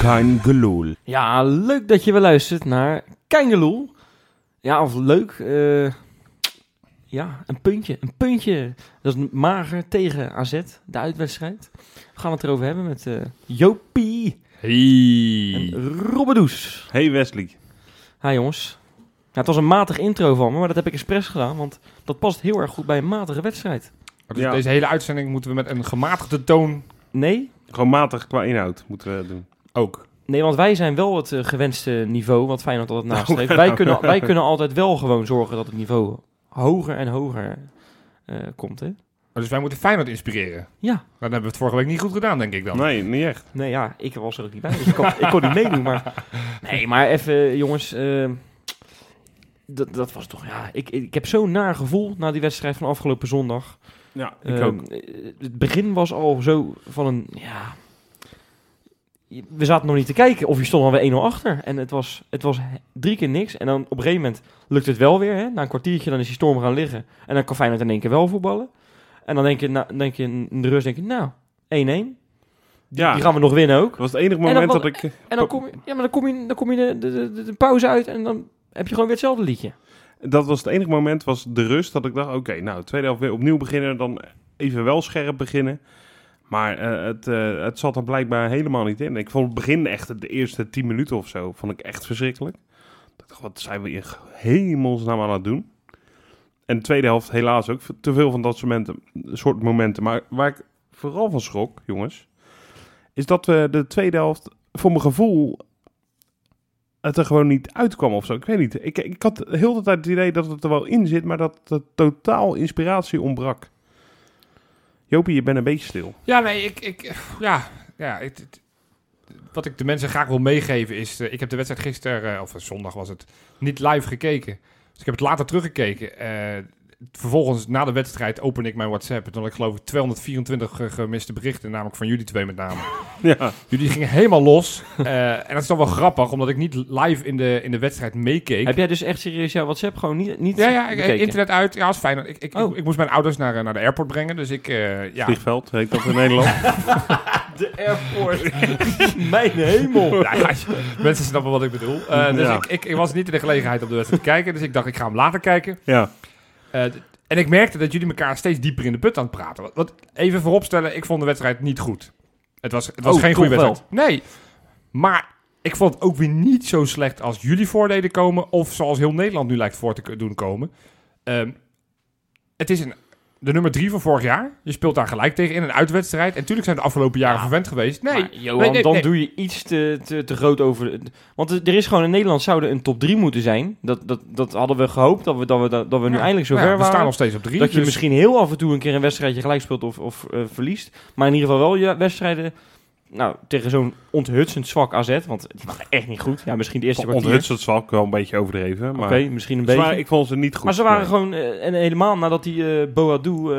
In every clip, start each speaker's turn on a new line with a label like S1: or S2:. S1: Kein Geloel.
S2: Ja, leuk dat je weer luistert naar Kangeloel. Ja, of leuk. eh, ja, een puntje. Een puntje. Dat is mager tegen AZ, de uitwedstrijd. We gaan het erover hebben met eh, Jopie en eh,
S3: Hey.
S2: Robbedoes.
S1: Hey Wesley.
S2: Hi jongens. Ja, het was een matig intro van me, maar dat heb ik expres gedaan, want dat past heel erg goed bij een matige wedstrijd.
S3: Dus
S1: Ja.
S3: deze hele uitzending moeten we met een gematigde toon
S2: Nee,
S1: Gewoon matig qua inhoud moeten we dat doen.
S3: ook.
S2: Nee, want wij zijn wel het eh, gewenste niveau, wat Feyenoord altijd nastreeft. Wij kunnen, wij kunnen altijd wel gewoon zorgen dat het niveau hoger en hoger eh, komt, hè?
S3: Maar Dus wij moeten Feyenoord inspireren.
S2: Ja.
S3: Maar dan hebben we het vorige week niet goed gedaan, denk ik dan.
S1: Nee, niet echt.
S2: Nee, ja, ik was er ook niet bij, dus ik kon, ik kon niet meedoen. Maar... Nee, maar even, jongens, eh, dat, dat was toch... Ja, ik, ik heb zo'n naar gevoel na die wedstrijd van afgelopen zondag.
S1: Ja, ik
S2: Ehm,
S1: ook.
S2: eh, Het begin was al zo van een, ja... je- We zaten nog niet te kijken of je stond alweer 1-0 achter. En het was, het was he- drie keer niks. En dan op een gegeven moment lukt het wel weer. Hè? Na een kwartiertje dan is die storm gaan liggen. En dan kan Feyenoord in één keer wel voetballen. En dan denk je, na, denk je in de rust, denk je, nou, 1-1.
S1: Ja,
S2: Die
S1: dat
S2: gaan we nog winnen ook.
S1: was het enige
S2: dan
S1: moment
S2: was-
S1: dat ik...
S2: En dan kom je, ja, maar dan kom je, dan kom je de, de, de, de pauze uit en dan heb je gewoon weer hetzelfde liedje.
S1: Dat was het enige moment, was de rust, dat ik dacht... Oké, nou, tweede helft weer opnieuw beginnen. Dan even wel scherp beginnen. Maar eh, het, eh, het zat er blijkbaar helemaal niet in. Ik vond het begin echt, de eerste tien minuten of zo, vond ik echt verschrikkelijk. Ik dacht, wat zijn we hier hemelsnaam aan het doen? En de tweede helft helaas ook te veel van dat soort momenten. Soort momenten. Maar waar ik vooral van schrok, jongens... is dat we de tweede helft, voor mijn gevoel... het er gewoon niet uitkwam of zo. Ik weet niet. Ik, ik had heel de tijd het idee dat het er wel in zit... maar dat er totaal inspiratie ontbrak. Jopie, je bent een beetje stil.
S3: Ja, nee, ik... ik ja, ja het- het- wat ik de mensen graag wil meegeven is... eh, ik heb de wedstrijd gisteren, eh, of zondag was het, niet live gekeken. Dus ik heb het later teruggekeken. Eh, vervolgens, na de wedstrijd, opende ik mijn WhatsApp. En toen had ik geloof ik 224 eh, gemiste berichten. Namelijk van jullie twee met name.
S1: Ja.
S3: Jullie gingen helemaal los. Eh, en dat is dan wel grappig, omdat ik niet live in de, in de wedstrijd meekeek.
S2: Heb jij dus echt serieus jouw WhatsApp gewoon niet, niet
S3: Ja, ja, ik-
S2: bekeken?
S3: internet uit. Ja, is fijn. Ik, ik,
S2: Oh.
S3: ik, ik moest mijn ouders naar, eh, naar de airport brengen, dus ik... eh, ja.
S1: Vliegveld heet dat in Nederland.
S2: De airport. Mijn hemel.
S3: Ja, ja, mensen snappen wat ik bedoel. Eh, dus
S1: Ja.
S3: ik, ik, ik was niet in de gelegenheid om de wedstrijd te kijken, dus ik dacht, ik ga hem later kijken.
S1: ja.
S3: Eh, d- en ik merkte dat jullie elkaar steeds dieper in de put aan het praten. Wat, wat- even vooropstellen, ik vond de wedstrijd niet goed. Het was, het was
S2: Oh,
S3: geen goede
S2: toch wel.
S3: wedstrijd. Nee, maar ik vond het ook weer niet zo slecht als jullie voordeden komen... of zoals heel Nederland nu lijkt voor te k- doen komen. Ehm, het is een, de nummer drie van vorig jaar. Je speelt daar gelijk tegen in een uitwedstrijd. En natuurlijk zijn we de afgelopen jaren
S2: Ja,
S3: verwend geweest. Nee,
S2: Nee, Johan,
S3: nee, nee,
S2: dan
S3: nee.
S2: doe je iets te, te, te groot over. de- Want er er is gewoon in Nederland zouden een top 3 moeten zijn. Dat, dat, dat hadden we gehoopt, dat we, dat we, dat, dat we nu
S3: Ja,
S2: eindelijk
S3: nou
S2: zover
S3: ja, we
S2: waren.
S3: staan nog steeds op drie.
S2: dat je
S3: dus-
S2: misschien heel af en toe een keer een wedstrijdje gelijk speelt of, of eh, verliest. Maar in ieder geval wel je wedstrijden. Nou, tegen zo'n onthutsend zwak AZ. Want het was echt niet goed. Ja, misschien de eerste kwartier. Oké,
S1: Onthutst zal ik wel een beetje overdreven. Maar,
S2: misschien een
S1: Dus
S2: beetje.
S1: maar ik vond ze niet goed.
S2: maar ze waren
S1: Nee.
S2: gewoon, eh, en helemaal nadat die eh Boadu eh,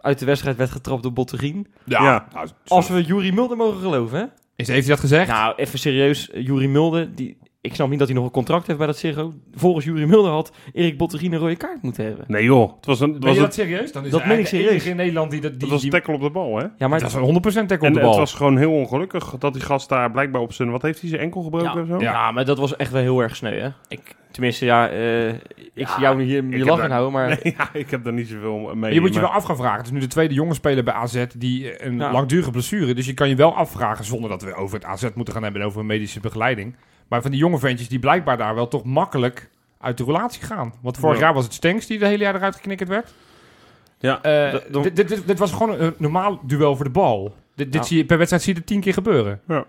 S2: uit de wedstrijd werd getrapt door Botterien.
S3: Ja,
S1: Ja.
S3: nou, sorry.
S2: Als we Jurie Mulder mogen geloven, hè?
S3: Is, heeft hij dat gezegd?
S2: Nou, even serieus. Jurie Mulder, die, ik snap niet dat hij nog een contract heeft bij dat Ziggo. Volgens Jurie Mulder had Erik Botterien een rode kaart moeten hebben.
S1: Nee joh, het was een, het
S3: Ben
S1: was
S3: je
S1: een,
S3: dat serieus? Dan is
S2: dat
S3: hij
S2: meen ik
S3: de
S2: serieus.
S3: enige in Nederland die dat...
S1: het
S3: Die,
S1: was een
S3: die-
S1: tackle op de bal, hè?
S2: Ja, maar
S3: dat is een 100% tackle op
S1: En
S3: de
S1: het
S3: bal.
S1: was gewoon heel ongelukkig dat die gast daar blijkbaar op zijn... Wat heeft hij, zijn enkel gebroken
S2: Ja.
S1: of zo?
S3: Ja.
S2: Ja, maar dat was echt wel heel erg sneu, hè? Ik, tenminste, ja, eh, ik zie jou nu hier je
S1: heb
S2: lach
S1: daar-
S2: aan houden, maar...
S1: Nee, ja, ik heb daar niet zoveel mee.
S3: je moet je
S1: maar-
S3: wel af gaan vragen. Het is nu de tweede jonge speler bij AZ die eh, een
S2: Ja.
S3: langdurige blessure. Dus je kan je wel afvragen zonder dat we over het AZ moeten gaan hebben en over een medische begeleiding. Maar van die jonge ventjes die blijkbaar daar wel toch makkelijk uit de relatie gaan. Want vorig
S1: Ja.
S3: jaar was het Stenks die de hele jaar eruit geknikkerd werd.
S1: Ja,
S3: Eh,
S1: dat- dat-
S3: dit, dit, dit- dit was gewoon een normaal duel voor de bal. Dit, dit
S2: Ja.
S3: zie je, per wedstrijd zie je het tien keer gebeuren.
S1: Ja.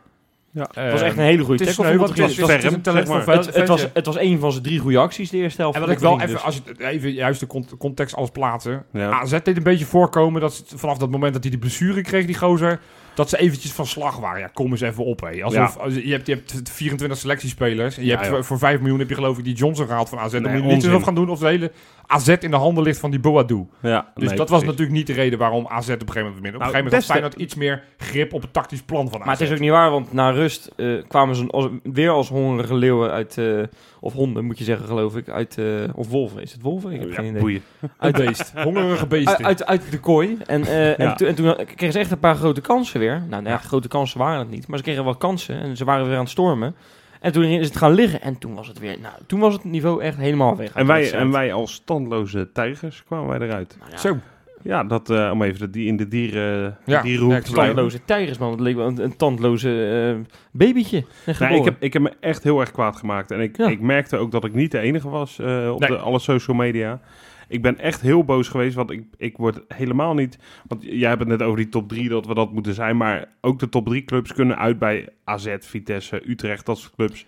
S1: Ja.
S3: Eh,
S2: Het was echt een hele goede
S3: het is
S2: tackle. van
S3: sneu, want het
S2: Botterien.
S3: was- het was- het is
S1: ferm,
S3: een talent
S1: zeg maar.
S3: van vele-
S2: Het, het, was,
S3: vele-
S2: het was een van zijn drie goede acties, de dus- eerste helft.
S3: En wat
S2: van
S3: ik wel
S2: Botterien
S3: even, als je het even juist de cont- context alles plaatsen.
S1: dus. Ja.
S3: AZ deed een beetje voorkomen dat ze, vanaf dat moment dat hij die blessure kreeg, die gozer, dat ze eventjes van slag waren. Ja, kom eens even op, hé. Alsof, als- je, hebt, je hebt 24 selectiespelers. En je
S1: Ja,
S3: hebt,
S1: joh.
S3: voor, voor 5 miljoen heb je geloof ik die Johnson gehaald van AZ. Dan
S1: Nee,
S3: moet je niet eens
S1: onzin.
S3: op gaan doen of de hele AZ in de handen ligt van die Boadu.
S1: ja,
S3: Dus
S1: nee,
S3: dat was
S1: precies.
S3: natuurlijk niet de reden waarom AZ op een gegeven moment winnen. Op een
S1: Nou,
S3: gegeven moment had
S1: beste-
S3: Feyenoord iets meer grip op het tactisch plan van AZ.
S2: Maar het is ook niet waar, want na rust eh, kwamen ze een- als- weer als hongerige leeuwen uit... eh, of honden, moet je zeggen, geloof ik. Uit, eh, of wolven. Is het wolven? Ik heb geen
S1: Ja,
S2: idee.
S1: boeien.
S3: een beest. Hongerige beesten.
S2: Uit, uit, uit de kooi. En, eh,
S1: Ja.
S2: en, toen- en toen kregen ze echt een paar grote kansen weer. Nou, nou ja, grote kansen waren het niet. Maar ze kregen wel kansen en ze waren weer aan het stormen. En toen is het gaan liggen en toen was het weer... Nou, toen was het niveau echt helemaal weg. eh,
S1: En wij, en wij als standloze tijgers kwamen wij eruit.
S2: Nou ja,
S3: Zo.
S1: Ja, dat, eh, om even dat die in de dieren,
S3: Ja,
S1: dierenhoek
S3: ja, ik
S1: te blijven.
S2: Tandloze tijgers, man. Het leek wel een, een tandloze eh, babytje. Net
S1: Nee, ik,
S2: geboren.
S1: heb, ik heb me echt heel erg kwaad gemaakt. En ik,
S2: Ja.
S1: ik merkte ook dat ik niet de enige was eh, op
S3: Nee.
S1: de, alle social media. Ik ben echt heel boos geweest, want ik, ik word helemaal niet... Want jij hebt het net over die top 3, dat we dat moeten zijn. Maar ook de top 3 clubs kunnen uit bij AZ, Vitesse, Utrecht, dat soort clubs.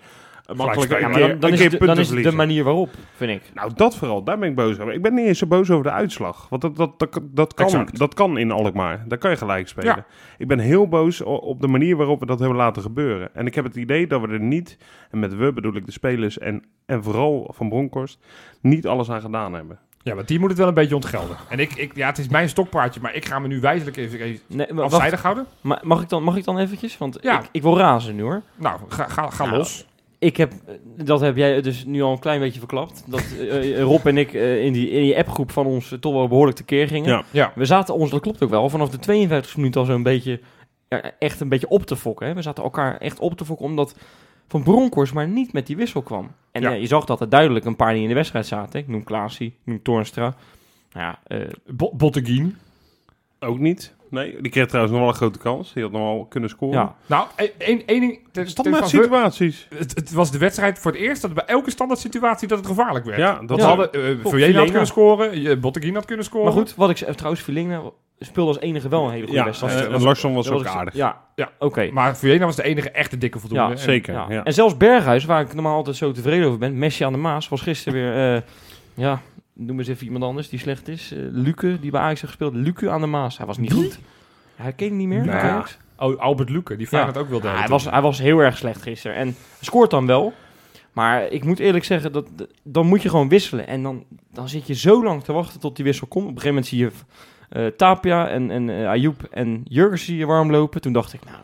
S1: Makkelijk
S3: spelen.
S1: een
S2: Ja, maar
S1: keer-
S2: dan, dan,
S1: een
S2: is,
S1: keer
S2: het, dan
S1: punten
S2: is het de
S1: verliezen.
S2: manier waarop, vind ik.
S1: Nou, dat vooral. Daar ben ik boos over. Ik ben niet eens zo boos over de uitslag. Want dat, dat, dat, dat, kan,
S3: Exact.
S1: dat kan in Alkmaar. Daar kan je gelijk spelen.
S3: Ja.
S1: Ik ben heel boos o- op de manier waarop we dat hebben laten gebeuren. En ik heb het idee dat we er niet, en met we bedoel ik de spelers en, en vooral Van Bronkhorst, niet alles aan gedaan hebben.
S3: Ja, want die moet het wel een beetje ontgelden. En ik, ik, ja, het is mijn stokpaardje, maar ik ga me nu wijzelijk even, even
S2: Nee, maar Nou, wacht,
S3: afzijdig houden.
S2: ma- mag, ik dan, mag ik dan eventjes? Want
S3: Ja.
S2: ik, ik wil razen nu, hoor.
S3: Nou, ga, ga, ga
S2: Nou,
S3: los.
S2: Ik heb, eh, dat heb jij dus nu al een klein beetje verklapt. Dat eh, eh, Rob en ik eh, in, die, in die appgroep van ons eh, toch wel behoorlijk tekeer gingen.
S1: Ja.
S3: Ja.
S2: We zaten ons, dat klopt ook wel, vanaf de 52 minuut al zo'n beetje, ja, echt een beetje op te fokken. Hè. We zaten elkaar echt op te fokken, omdat Van Bronckhorst maar niet met die wissel kwam. En
S3: Ja.
S2: eh, je zag dat er duidelijk een paar die in de wedstrijd zaten. Ik noem Klaasie, ik noem Toornstra. Nou ja, eh,
S3: Bo Botteguin.
S1: Ook niet. Nee, die kreeg trouwens nog wel een grote kans. Die had nog wel kunnen scoren.
S2: ja.
S1: Ja.
S3: Nou, e- één één ding. ten- ten
S1: Standaard
S3: van-
S1: situaties.
S3: Het, het was de wedstrijd voor het eerst dat bij elke standaard situatie dat het gevaarlijk werd.
S1: Ja, dat
S3: Dat
S2: Ja.
S1: hadden...
S3: hadden eh
S2: Klopt,
S3: Villela had
S2: Villela.
S3: kunnen scoren, eh, Botteguin had kunnen scoren.
S2: Maar goed, wat ik ze- trouwens, Villinga speelde als enige wel een hele goede
S1: Ja,
S2: wedstrijd.
S1: eh,
S2: Dat was-
S1: Larsson was
S2: dat
S1: ook
S2: was-
S1: aardig.
S2: Ja,
S3: Ja.
S2: ja. oké.
S3: Maar Villela was de enige echte dikke voldoende.
S2: Ja,
S3: En-
S1: Zeker,
S2: Ja.
S1: ja.
S2: En zelfs Berghuis, waar ik normaal altijd zo tevreden over ben, Messi aan de Maas, was gisteren weer, eh, ja, noem eens even iemand anders die slecht is. Eh, Luke, die bij Ajax heeft gespeeld. Luke aan de Maas, hij was niet goed. Hij keek niet meer.
S3: Nou
S2: bij
S3: ja,
S2: Ajax.
S3: Oh, Albert Luke, die Feyenoord ook wilde
S2: Ah, hij,
S3: hebben.
S2: was, hij was heel erg slecht gisteren en scoort dan wel. Maar ik moet eerlijk zeggen, dat, d- dan moet je gewoon wisselen. En dan, dan zit je zo lang te wachten tot die wissel komt. Op een gegeven moment zie je eh, Tapia en, en eh, Ayoub en Jurgensen zie je warm lopen. Toen dacht ik, nou,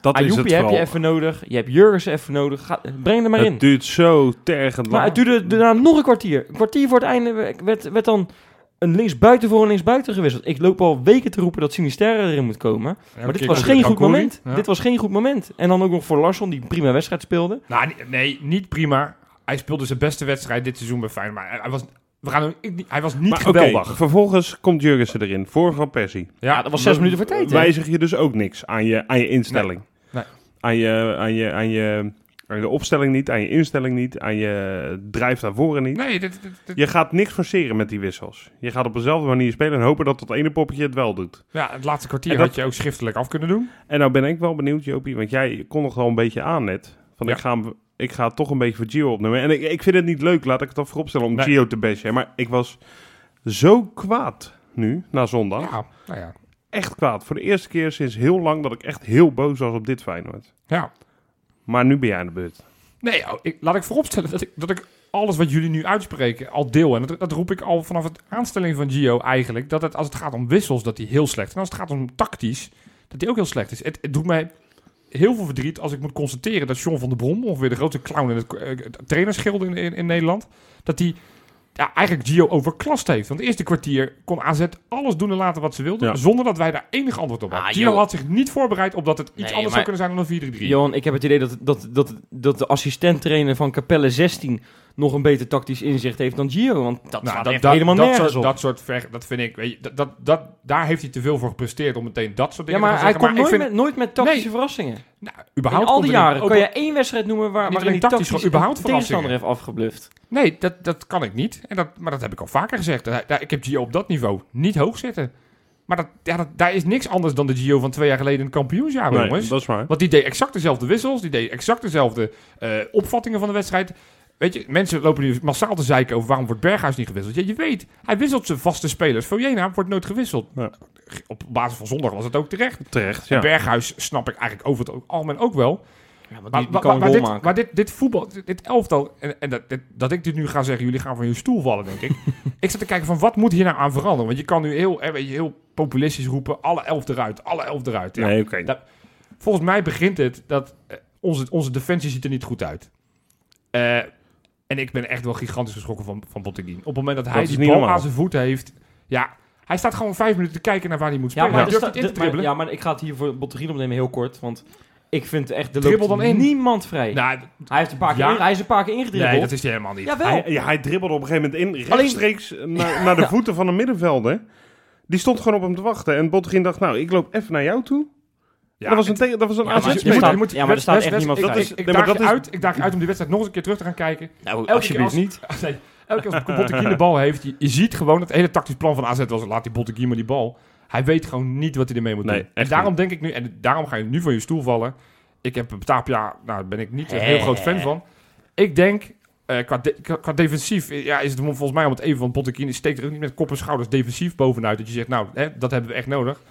S1: Dat is
S2: Ayoub
S1: het
S2: je heb
S1: vooral.
S2: je even nodig. Je hebt Jurgensen even nodig. Ga, breng hem maar in.
S1: Het duurt zo tergend
S2: Maar
S1: lang.
S2: het duurde daarna nog een kwartier. Een kwartier voor het einde werd- werd, werd dan een linksbuiten voor een linksbuiten gewisseld. Ik loop al weken te roepen dat Sinisterre erin moet komen.
S3: Ja,
S2: Maar dit
S3: keer
S2: was
S3: kwam
S2: geen
S3: weer
S2: goed
S3: Rancouri.
S2: moment.
S3: Ja.
S2: Dit was geen goed moment. En dan ook nog voor Larsson, die een prima wedstrijd speelde.
S3: Nou, nee, nee, niet prima. Hij speelde zijn beste wedstrijd dit seizoen bij Feyenoord. Maar hij- hij was, we gaan, hem- ik, niet- hij was niet
S1: Maar oké,
S3: geweldig.
S1: vervolgens komt Jurgensen erin, voor Van Persie.
S2: Ja, dat was zes
S3: maar-
S2: minuten voor tijd. hè?
S1: wijzig je dus ook niks aan je, aan je instelling.
S3: Nee.
S1: Aan, je, aan, je, aan, je, aan de opstelling niet, aan je instelling niet, aan je drijf naar voren niet.
S3: Nee, dit, dit- dit-
S1: Je gaat niks forceren met die wissels. Je gaat op dezelfde manier spelen en hopen dat dat ene poppetje het wel doet.
S3: ja, het laatste kwartier
S1: En dat-
S3: had je ook schriftelijk af kunnen doen.
S1: En nou ben ik wel benieuwd, Jopie, want jij kondigt al een beetje aan net. Van
S3: Ja.
S1: ik, ga, hem- ik ga toch een beetje voor Gio opnemen. En ik, ik vind het niet leuk, laat ik het al vooropstellen, om
S3: Nee.
S1: Gio te bashen. hè. Maar ik was zo kwaad nu, na zondag.
S3: Ja, nou ja.
S1: Echt kwaad. Voor de eerste keer sinds heel lang dat ik echt heel boos was op dit Feyenoord.
S3: ja.
S1: Maar nu ben jij aan de beurt.
S3: Nee, oh, ik, laat ik vooropstellen dat ik, dat ik alles wat jullie nu uitspreken al deel. En dat, dat roep ik al vanaf het aanstelling van Gio eigenlijk. Dat het als het gaat om wissels, dat hij heel slecht is. En als het gaat om tactisch, dat hij ook heel slecht is. Het, het doet mij heel veel verdriet als ik moet constateren dat John van der Brom, ongeveer de grote clown in het, eh, het trainerschild in, in, in Nederland, dat hij ja, eigenlijk Gio overklast heeft. Want het eerste kwartier kon AZ alles doen en laten wat ze wilden,
S1: Ja.
S3: zonder dat wij daar enig antwoord op hadden.
S2: Ah,
S3: Gio
S2: joh.
S3: had zich niet voorbereid op dat het iets
S2: Nee,
S3: anders zou
S2: maar-
S3: kunnen zijn dan een 4-3-3.
S2: Johan, ik heb het idee dat, dat, dat, dat de assistent-trainer van Capelle 16 nog een beter tactisch inzicht heeft dan Gio. Want dat
S3: Nou,
S2: gaat echt helemaal
S3: dat
S2: nergens
S3: soort,
S2: op.
S3: Dat soort ver, dat vind ik, weet je, dat, dat, dat, daar heeft hij te veel voor gepresteerd om meteen dat soort
S2: ja,
S3: dingen
S2: maar
S3: te
S2: hij
S3: gaan
S2: komt nooit,
S3: zeggen. maar
S2: met, nooit met tactische verrassingen.
S3: ik vind, nou, überhaupt Oh,
S2: in al
S3: komt
S2: die
S3: er
S2: jaren
S3: ook
S2: kan je
S3: wel-
S2: één wedstrijd noemen waar, waarin
S3: alleen
S2: die
S3: tactisch,
S2: tactisch,
S3: gewoon überhaupt
S2: de tegenstander
S3: verrassingen.
S2: heeft afgebluft.
S3: Nee, dat, dat kan ik niet. En dat, maar dat heb ik al vaker gezegd. Daar- daar- ik heb Gio op dat niveau niet hoog zitten. Maar dat, ja, dat, daar is niks anders dan de Gio van twee jaar geleden in het kampioensjaar,
S1: Nee,
S3: jongens.
S1: dat is waar.
S3: Want die deed exact dezelfde wissels. Die deed exact dezelfde eh, opvattingen van de wedstrijd. Weet je, mensen lopen nu massaal te zeiken over waarom wordt Berghuis niet gewisseld. Ja, je weet, hij wisselt zijn vaste spelers. Jena wordt nooit gewisseld.
S1: Ja.
S3: Op basis van zondag was het ook terecht.
S1: Terecht, ja.
S3: Berghuis snap ik eigenlijk over het algemeen ook wel.
S2: Ja,
S3: Maar, maar- maar dit, maar dit, dit voetbal, dit, dit elftal, en, en dat, dit- dat ik dit nu ga zeggen, jullie gaan van je stoel vallen, denk ik. ik zat te kijken van, wat moet hier nou aan veranderen? Want je kan nu heel, eh, weet je, heel populistisch roepen, alle elf eruit, alle elf eruit. Ja,
S1: Nee, oké.
S3: Dat- Volgens mij begint het dat eh, onze, onze defensie ziet er niet goed uit. Eh, en ik ben echt wel gigantisch geschrokken van, van Botteguin. Op het moment dat hij
S1: is
S3: die
S1: niet
S3: bal
S1: normaal.
S3: aan zijn voeten heeft... Ja, Hij staat gewoon vijf minuten te kijken naar waar hij moet
S2: Ja,
S3: spelen.
S2: maar,
S3: hij
S2: de
S3: durft
S2: sta-
S3: niet in te
S2: de- maar-
S3: dribbelen.
S2: ja, maar ik ga het hier voor Botterino opnemen heel kort. Want ik vind echt, er
S3: Dribbel
S2: loopt
S3: dan in.
S2: niemand vrij.
S3: Nou,
S2: hij, heeft een paar keer
S3: Ja.
S2: in- hij is een paar keer ingedribbeld.
S3: nee, dat is hij helemaal niet.
S2: Jawel.
S1: Hij, ja, hij dribbelde op een gegeven moment in,
S2: Alleen-
S1: rechtstreeks naar, naar de voeten van een middenvelder. Die stond gewoon op hem te wachten. En Bottegien dacht, nou, ik loop even naar jou toe.
S3: Ja,
S1: dat was een,
S3: het-
S1: tegen- dat was een
S2: Ja, maar
S1: AZ-speler.
S2: je staat- ja, maar er
S3: Wes-
S2: staat
S3: Wes-
S2: echt
S3: Wes-
S2: niemand
S3: ik-
S2: vrij.
S3: ik- Ik
S1: Nee,
S3: daag
S1: maar
S3: je
S1: dat is-
S3: uit- ik daag je uit om die wedstrijd nog eens een keer terug te gaan kijken.
S2: nou,
S3: keer
S2: alsjeblieft
S3: als- Oh,
S2: niet.
S3: Nee, elke keer als Botteguin de bal heeft, je, je ziet gewoon het hele tactisch plan van AZ was, laat die Botteguin maar die bal. Hij weet gewoon niet wat hij ermee moet
S1: Nee,
S3: doen. En
S1: echt
S3: daarom denk ik nu, en daarom ga je nu van je stoel vallen. Ik heb Tapia, nou daar ben ik niet een heel
S2: Hè.
S3: groot fan van. Ik denk, eh, qua, de- qua, qua defensief, eh, ja, is het volgens mij om het even van Botteguin, steekt er ook niet met kop en schouders defensief bovenuit. Dat je zegt, nou, hè, dat hebben we echt nodig.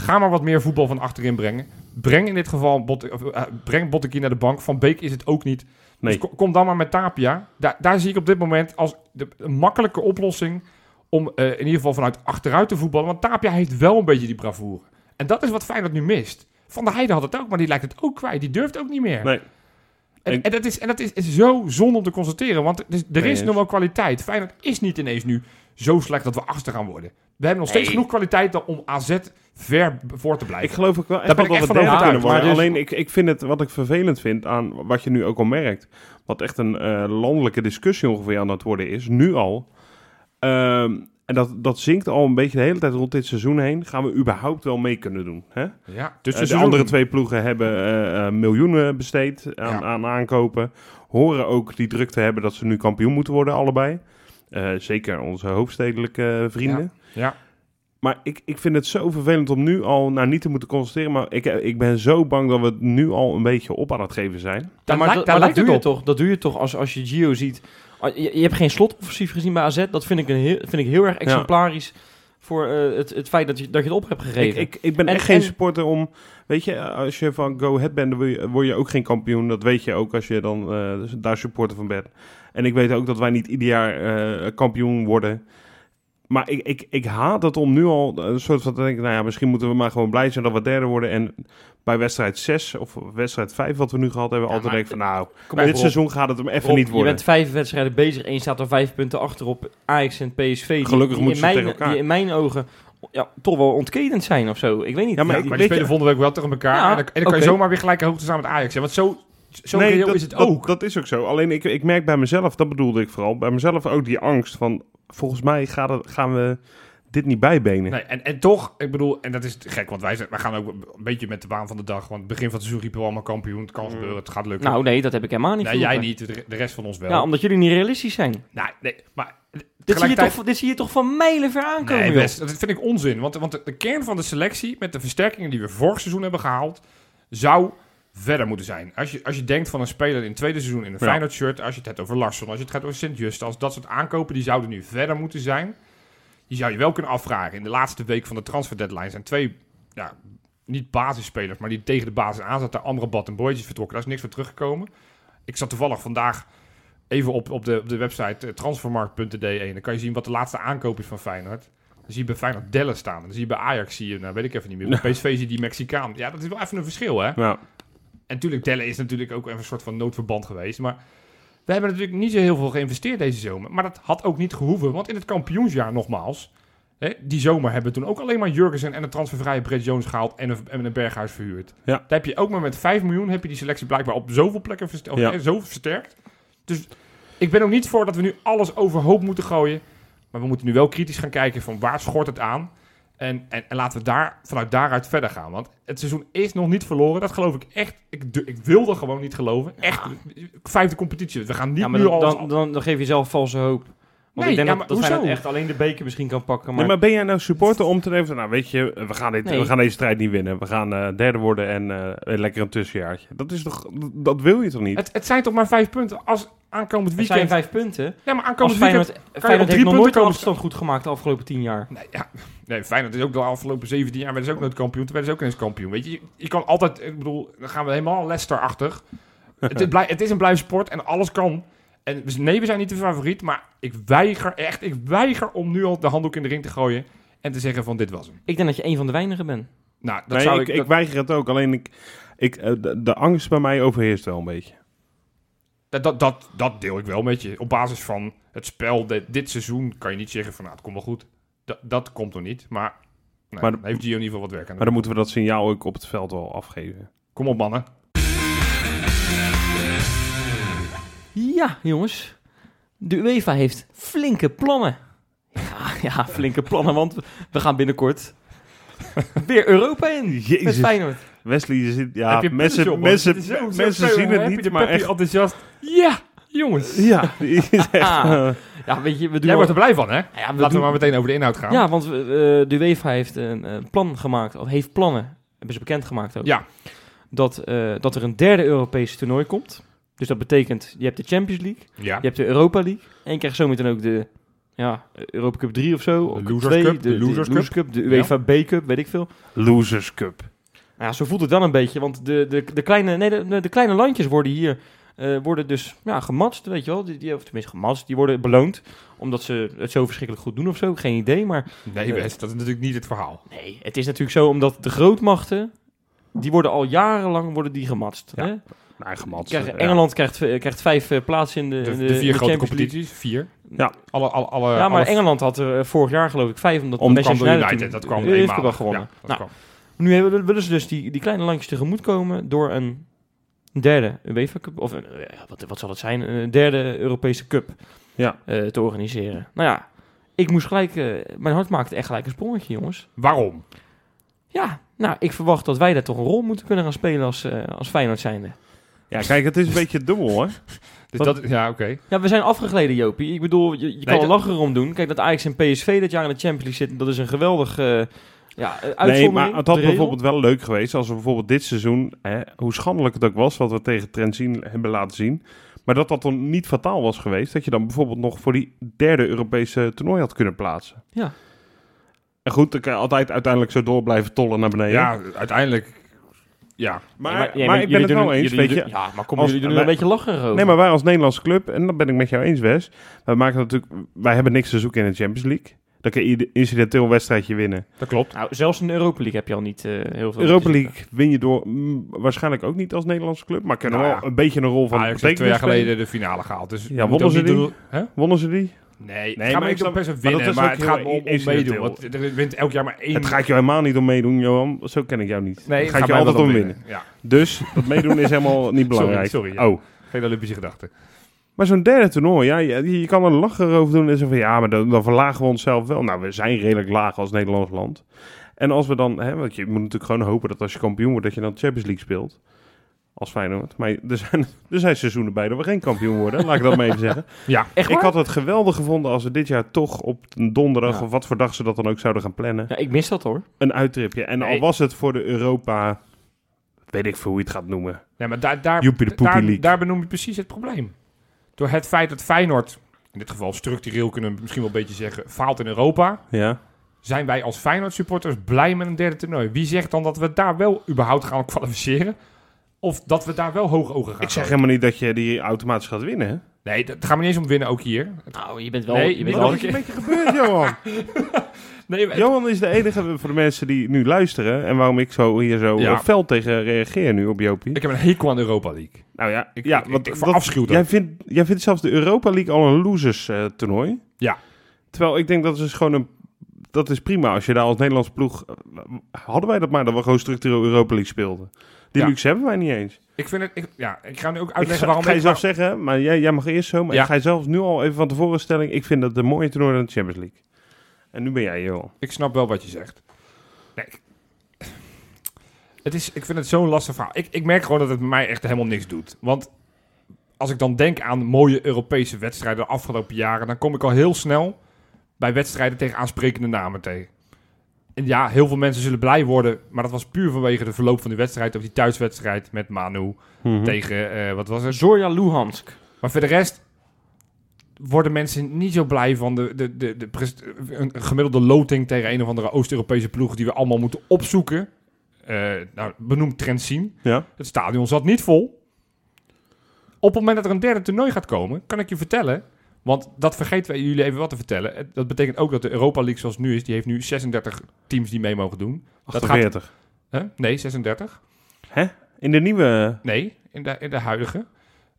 S3: Ga maar wat meer voetbal van achterin brengen. Breng in dit geval Botte, of, eh, breng Botteguin naar de bank. Van Beek is het ook niet.
S1: Nee.
S3: Dus ko- kom dan maar met Tapia. Daar, daar zie ik op dit moment als de een makkelijke oplossing om eh, in ieder geval vanuit achteruit te voetballen. Want Tapia heeft wel een beetje die bravoure. En dat is wat Feyenoord nu mist. Van der Heijden had het ook, maar die lijkt het ook kwijt. Die durft ook niet meer.
S1: Nee.
S3: En,
S1: Ik-
S3: en dat, is, en dat is, is zo zonde om te constateren. Want er is, er
S1: Nee,
S3: is
S1: eens.
S3: nog wel kwaliteit. Feyenoord is niet ineens nu zo slecht dat we achter gaan worden. We hebben nog steeds
S2: Nee.
S3: genoeg kwaliteit dan om AZ ver b- voor te blijven.
S1: Ik geloof ook wel echt
S3: Daar ben
S1: wel
S3: ik
S1: dat we
S3: echt van
S1: derde kunnen
S3: overtuigd,
S1: worden.
S2: maar dus-
S1: Alleen ik, ik vind het, wat ik vervelend vind aan wat je nu ook al merkt, wat echt een eh, landelijke discussie ongeveer aan het worden is, nu al. Ehm, en dat, dat zinkt al een beetje de hele tijd rond dit seizoen heen. Gaan we überhaupt wel mee kunnen doen? Hè?
S3: ja, dus
S1: Eh, de andere twee ploegen hebben eh, eh, miljoenen besteed aan,
S3: Ja.
S1: aan aankopen. Horen ook die druk te hebben dat ze nu kampioen moeten worden, allebei. Eh, zeker onze hoofdstedelijke eh, vrienden.
S3: Ja.
S1: Maar ik, ik vind het zo vervelend om nu al, nou niet te moeten constateren, maar ik, eh, ik ben zo bang dat we het nu al een beetje op aan het geven zijn.
S3: Daar,
S2: Ja, maar
S3: lijkt,
S2: dat-
S3: daar
S2: maar
S3: lijkt
S2: dat doe
S3: het
S2: je
S3: op.
S2: toch. Dat doe je toch als, als je Gio ziet. Ah, Je, je hebt geen slotoffensief gezien bij AZ. Dat vind ik, een heel, vind ik heel erg exemplarisch voor eh, het, het feit dat je, dat je het op hebt
S1: Ik,
S2: gegeven.
S1: ik, ik ben
S2: En-
S1: echt geen
S2: en-
S1: supporter om, weet je, als je van Go Ahead bent, dan word je, word je ook geen kampioen. Dat weet je ook als je dan eh, daar supporter van bent. En ik weet ook dat wij niet ieder jaar eh, kampioen worden. Maar ik, ik, ik haat het om nu al een soort van te denken, nou ja, misschien moeten we maar gewoon blij zijn dat we derde worden. En bij wedstrijd 6 of wedstrijd 5 wat we nu gehad hebben,
S2: Ja,
S1: altijd
S2: maar-
S1: denk ik van nou,
S2: Kom op,
S1: dit
S2: Rob.
S1: seizoen gaat het hem even
S2: Rob,
S1: niet worden.
S2: Je bent vijf wedstrijden bezig en je staat er vijf punten achter op Ajax en PSV. die-
S1: Gelukkig
S2: die
S1: moeten
S2: in
S1: ze
S2: mijn,
S1: tegen elkaar.
S2: Die in mijn ogen ja, toch wel ontketend zijn of zo. Ik weet niet.
S1: Ja, maar
S3: Ja,
S1: ik-
S3: maar
S1: weet
S3: die
S1: je-
S3: spelen volgende week wel tegen elkaar.
S2: Ja,
S3: en dan, en dan kan je
S2: oké.
S3: zomaar weer gelijke hoogte staan met Ajax. Ja, want zo, zo reëel
S1: dat,
S3: is het
S1: dat-
S3: ook.
S1: Dat, is ook zo. Alleen ik, ik merk bij mezelf, dat bedoelde ik vooral, bij mezelf ook die angst van volgens mij gaat het, gaan we dit niet bijbenen.
S3: Nee, en, en toch, ik bedoel, en dat is gek, want wij, zijn, wij gaan ook een beetje met de waan van de dag. Want begin van het seizoen riepen we allemaal kampioen, het kan
S1: Mm.
S3: gebeuren, het gaat lukken.
S2: Nou nee, dat heb ik helemaal niet
S3: nee,
S2: geroepen.
S3: jij niet, de re- de rest van ons wel.
S2: Ja, omdat jullie niet realistisch zijn.
S3: nou, nee, maar
S2: Dit zie, je
S3: Tegelijkertijd-
S2: toch, dit zie je toch van mijlenver aankomen,
S3: Nee,
S2: joh.
S3: best. dat vind ik onzin. Want, want de, de kern van de selectie, met de versterkingen die we vorig seizoen hebben gehaald, zou verder moeten zijn. Als je, als je denkt van een speler in het tweede seizoen in een
S1: Ja.
S3: Feyenoord shirt, als je het hebt over Larsson, als je het gaat over Sint-Just, als dat soort aankopen, die zouden nu verder moeten zijn. Die zou je wel kunnen afvragen. In de laatste week van de transfer deadline zijn twee, ja, niet basisspelers, maar die tegen de basis aan zaten. Amrabat en Boydje is vertrokken, daar is niks voor teruggekomen. Ik zat toevallig vandaag even op, op, de, op de website eh, transfermarkt.de en dan kan je zien wat de laatste aankoop is van Feyenoord. Dan zie je bij Feyenoord Dellen staan. En Dan zie je bij Ajax, zie je, nou weet ik even niet meer, bij PSV zie je die Mexicaan. Ja, dat is wel even een verschil, hè?
S1: Nou,
S3: En natuurlijk, Dellen is natuurlijk ook even een soort van noodverband geweest. Maar we hebben natuurlijk niet zo heel veel geïnvesteerd deze zomer. Maar dat had ook niet gehoeven. Want in het kampioensjaar nogmaals, hè, die zomer hebben we toen ook alleen maar Jurgensen en de transfervrije Brett Jones gehaald en een, en een berghuis verhuurd.
S1: Ja.
S3: Daar heb je ook maar met 5 miljoen heb je die selectie blijkbaar op zoveel plekken versterkt.
S1: Ja.
S3: Zo versterkt. Dus ik ben ook niet voor dat we nu alles overhoop moeten gooien. Maar we moeten nu wel kritisch gaan kijken van waar schort het aan. En, en, en laten we daar, vanuit daaruit verder gaan. Want het seizoen is nog niet verloren. Dat geloof ik echt. Ik, du- ik wil er gewoon niet geloven. Echt. Vijfde competitie. We gaan niet
S2: Ja, maar
S3: nu
S2: dan,
S3: al...
S2: dan, dan, dan geef je zelf valse hoop. Want
S3: Nee,
S2: ik denk
S3: ja,
S2: dat,
S3: maar
S2: dat Feyenoord
S3: hoezo?
S2: echt alleen de beker misschien kan pakken. Maar,
S1: nee, maar ben jij nou supporter om te denken van, nou weet je, we gaan, dit,
S2: Nee.
S1: we gaan deze strijd niet winnen. We gaan eh, derde worden en eh, lekker een tussenjaartje. Dat is toch, dat wil je toch niet?
S3: het, het zijn toch maar vijf punten. Als aankomend
S2: het
S3: weekend...
S2: zijn vijf punten.
S3: Ja, maar
S2: Als
S3: aankomend weekend...
S2: Feyenoord, Feyenoord
S3: drie
S2: heeft nog
S3: punten
S2: nooit een
S3: komen
S2: afstand goed gemaakt de afgelopen tien jaar.
S3: Nee, ja. nee, Feyenoord is ook de afgelopen 17 jaar werden ze ook nooit kampioen. Toen werden ze ook eens kampioen. Weet je, je, je kan altijd, ik bedoel, dan gaan we helemaal Leicester-achtig. het, is blij- het is een blijf sport en alles kan. En dus nee, we zijn niet de favoriet, maar ik weiger echt, ik weiger om nu al de handdoek in de ring te gooien en te zeggen van dit was hem.
S2: Ik denk dat je een van de weinigen bent.
S3: Nou, dat
S1: nee,
S3: zou
S1: ik,
S3: ik,
S1: ik
S3: dat-
S1: weiger het ook. Alleen ik, ik, eh, de, de angst bij mij overheerst wel een beetje.
S3: Dat, dat, dat, dat deel ik wel met je. Op basis van het spel dit, dit seizoen kan je niet zeggen van nou, het komt wel goed. da- dat komt nog niet. Maar, nee,
S1: Maar de-
S3: dan heeft Gio in ieder geval wat werk aan.
S1: Maar dan moeten we dat signaal ook op het veld wel afgeven.
S3: Kom op, mannen.
S2: Ja, jongens. De UEFA heeft flinke plannen. Ja, ja flinke plannen, want we gaan binnenkort weer Europa in. Met
S1: Jezus.
S2: Feyenoord.
S1: Wesley, je zit, ja,
S3: Heb je
S1: mensen,
S3: punten op, man?
S1: mensen,
S3: Het is zo- zo-
S1: mensen
S3: zo-
S1: zien
S3: happy
S1: het niet,
S3: de
S1: maar
S3: peppy,
S1: echt...
S3: enthousiast.
S2: Ja, jongens.
S1: Ja, die is echt, eh,
S2: Ja, weet je, we doen...
S3: Ah. Jij
S2: al-
S3: wordt er blij van, hè?
S2: Ja, we
S3: Laten
S2: doen-
S3: we maar meteen over de inhoud gaan.
S2: Ja, want we- eh, de UEFA heeft een eh, plan gemaakt, of heeft plannen, hebben ze bekendgemaakt ook.
S3: Ja.
S2: Dat, eh, dat er een derde Europees toernooi komt. Dus dat betekent, je hebt de Champions League,
S3: ja.
S2: je hebt de Europa League. En je krijgt zometeen ook de ja, Europa Cup 3 of zo.
S3: De
S2: of
S3: Losers Cup, de Losers
S2: Cup, de UEFA B Cup, weet ik veel.
S1: Losers Cup.
S2: Nou, ja, zo voelt het dan een beetje, want de, de, de, kleine, nee, de- de, de kleine landjes worden hier eh, worden dus ja, gematst, weet je wel. Die, die, of tenminste gematst, die worden beloond omdat ze het zo verschrikkelijk goed doen of zo, geen idee. Maar
S3: Nee, best. Dat is natuurlijk niet het verhaal.
S2: Nee, het is natuurlijk zo omdat de grootmachten, die worden al jarenlang worden die gematst.
S1: Ja,
S2: hè?
S1: Nou, gematst.
S2: Krijgen-
S1: ja.
S2: Engeland krijgt, eh, krijgt vijf eh, plaatsen in de,
S3: De,
S2: in
S3: de,
S2: in
S3: vier
S2: Champions
S3: grote
S2: League.
S3: competities. Vier.
S1: Ja.
S3: Alle, alle, alle,
S2: Ja, maar
S3: alle-
S2: Engeland had er eh, vorig jaar geloof ik vijf, omdat
S1: Om-
S2: Manchester
S3: kwam door
S2: United
S3: United. Dat kwam
S2: de Eurocup
S3: eenmaal.
S2: had gewonnen.
S3: Ja, dat
S2: Nou,
S3: kwam.
S2: Nu hebben, willen ze dus die, die kleine landjes tegemoetkomen door een derde UEFA Cup, of een, eh, wat, wat zal het zijn, een derde Europese Cup
S1: Ja.
S2: eh, te organiseren. Nou ja, ik moest gelijk, eh, mijn hart maakte echt gelijk een sprongetje jongens.
S3: Waarom?
S2: Ja, nou, ik verwacht dat wij daar toch een rol moeten kunnen gaan spelen als, eh als Feyenoord zijnde.
S1: Ja, kijk, het is een beetje dubbel, hè?
S3: Dus
S1: Wat-
S3: dat, ja, oké.
S2: Ja, we zijn afgegleden, Jopie. Ik bedoel, je, je kan
S3: dat-
S2: er lachen om doen. Kijk, dat Ajax en PSV dit jaar in de Champions League zitten, dat is een geweldig eh ja, eh, uitzondering.
S1: Nee, maar het had
S2: de regel.
S1: bijvoorbeeld wel leuk geweest als we bijvoorbeeld dit seizoen, hè, hoe schandelijk het ook was wat we tegen Trent zien, hebben laten zien, maar dat dat dan niet fataal was geweest, dat je dan bijvoorbeeld nog voor die derde Europese toernooi had kunnen plaatsen.
S2: Ja.
S1: En goed, dan kan je altijd uiteindelijk zo door blijven tollen naar beneden.
S3: Ja, uiteindelijk. Ja.
S1: maar,
S2: Nee,
S1: maar,
S2: jij-
S1: ik ben
S2: jullie
S1: het
S2: doen-
S1: wel eens,
S2: jullie
S1: weet je.
S2: doen- Ja, maar kom,
S1: als-
S2: jullie doen er een
S1: wij-
S2: beetje lachen over.
S1: Nee, maar wij als Nederlandse club, en dat ben ik met jou eens, Wes. Wij, maken natuurlijk, wij hebben niks te zoeken in de Champions League. Dan kan je ieder incidenteel wedstrijdje winnen.
S3: Dat klopt.
S2: Nou, zelfs in de Europa League heb je al niet eh, heel veel...
S1: Europa League win je door mm, waarschijnlijk ook niet als Nederlandse club, maar kunnen
S3: Nou
S1: wel
S3: ja.
S1: een beetje een rol van
S3: Ajax heeft twee jaar
S1: betekenis spelen.
S3: geleden de finale gehaald. Dus
S1: Ja, wonnen ze die?
S3: Hè?
S1: Wonnen ze die?
S3: Nee,
S1: maar
S3: nee maar
S1: ik
S3: ik
S1: snap-
S3: snap best wel
S1: maar
S3: winnen.
S1: dat
S3: Maar,
S1: is ook heel
S3: het gaat me om, om
S1: incidenteel.
S3: meedoen. Want er wint elk jaar maar één.
S1: Het gaat je helemaal niet om meedoen, Johan. Zo ken ik jou niet.
S3: nee,
S1: het
S3: gaat
S1: gaat je
S3: mij wel
S1: altijd om winnen.
S3: Ja,
S1: Dus dat meedoen is helemaal niet belangrijk.
S3: sorry, ja.
S1: Oh.
S3: geen Olympische gedachte.
S1: Maar zo'n derde toernooi, ja, je, je kan er lachen over doen en zeggen van ja, maar dan, dan verlagen we onszelf wel. Nou, we zijn redelijk laag als Nederlands land. En als we dan, hè, want je moet natuurlijk gewoon hopen dat als je kampioen wordt, dat je dan de Champions League speelt. Als Feyenoord. Maar er zijn, er zijn seizoenen bij dat we geen kampioen worden. laat ik dat maar even zeggen.
S3: Ja,
S2: Echt
S1: Ik
S2: waar?
S1: had het geweldig gevonden als we dit jaar toch op een donderdag
S2: Ja.
S1: of wat voor dag ze dat dan ook zouden gaan plannen.
S2: Ja, ik mis dat hoor.
S1: Een uittripje. En al
S3: Nee.
S1: was het voor de Europa, weet ik veel hoe je het gaat noemen.
S3: nee, maar daar, daar,
S1: Joepie de poepie leak.
S3: daar, daar benoem je precies het probleem. Door het feit dat Feyenoord, in dit geval structureel kunnen we misschien wel een beetje zeggen, faalt in Europa.
S1: Ja.
S3: Zijn wij als Feyenoord supporters blij met een derde toernooi? Wie zegt dan dat we daar wel überhaupt gaan kwalificeren? Of dat we daar wel hoog ogen gaan
S1: Ik zeg
S3: gooien?
S1: helemaal niet dat je die automatisch gaat winnen. hè?
S3: Nee, dat gaan we niet eens om winnen, ook hier.
S2: Nou, je bent wel...
S3: Nee,
S2: je
S3: niet
S2: bent
S1: Wat
S2: wel
S1: is er een beetje gebeurd, Johan?
S3: Nee, maar-
S1: Johan is de enige voor de mensen die nu luisteren. En waarom ik zo hier zo
S3: Ja.
S1: eh, fel tegen reageer nu op Jopie.
S3: ik heb een hekel aan de Europa League.
S1: nou ja,
S3: ik-
S1: ja
S3: ik-
S1: want
S3: ik
S1: dat-
S3: verafschuw dat.
S1: Jij vindt, jij vindt zelfs de Europa League al een losers eh, toernooi.
S3: Ja.
S1: Terwijl ik denk dat is dus gewoon een... Dat is prima als je daar als Nederlandse ploeg... eh, Hadden wij dat maar dat we gewoon structureel Europa League speelden. Die
S3: Ja.
S1: luxe hebben wij niet eens.
S3: Ik vind het... Ik, ja, ik ga nu ook
S1: Ik
S3: uitleggen
S1: ga,
S3: waarom
S1: ga je
S3: ik...
S1: zelf zeggen, maar jij, jij mag eerst zo. Maar
S3: Ja.
S1: ik ga je zelfs nu al even van tevoren stelling. Ik vind dat de mooie toernooi dan de Champions League. En nu ben jij Johan.
S3: Ik snap wel wat je zegt. Nee. ik- Het is, ik vind het zo'n lastig verhaal. Ik, ik merk gewoon dat het mij echt helemaal niks doet. Want als ik dan denk aan mooie Europese wedstrijden de afgelopen jaren... dan kom ik al heel snel bij wedstrijden tegen aansprekende namen tegen. En ja, heel veel mensen zullen blij worden... maar dat was puur vanwege de verloop van die wedstrijd... of die thuiswedstrijd met Manu
S1: Hm.
S3: tegen... eh, wat was het?
S2: Zorja Luhansk.
S3: Maar voor de rest worden mensen niet zo blij van de, de, de, de pres- een een gemiddelde loting tegen een of andere Oost-Europese ploeg die we allemaal moeten opzoeken. Eh nou, benoem Trent zien.
S1: Ja.
S3: Het stadion zat niet vol. Op het moment dat er een derde toernooi gaat komen, kan ik je vertellen. Want dat vergeten wij jullie even wat te vertellen. Het- Dat betekent ook dat de Europa League zoals het nu is, die heeft nu 36 teams die mee mogen doen. Dat gaat,
S1: 48.
S3: hè? Nee, 36.
S1: In de nieuwe...
S3: Nee, in de, in de huidige.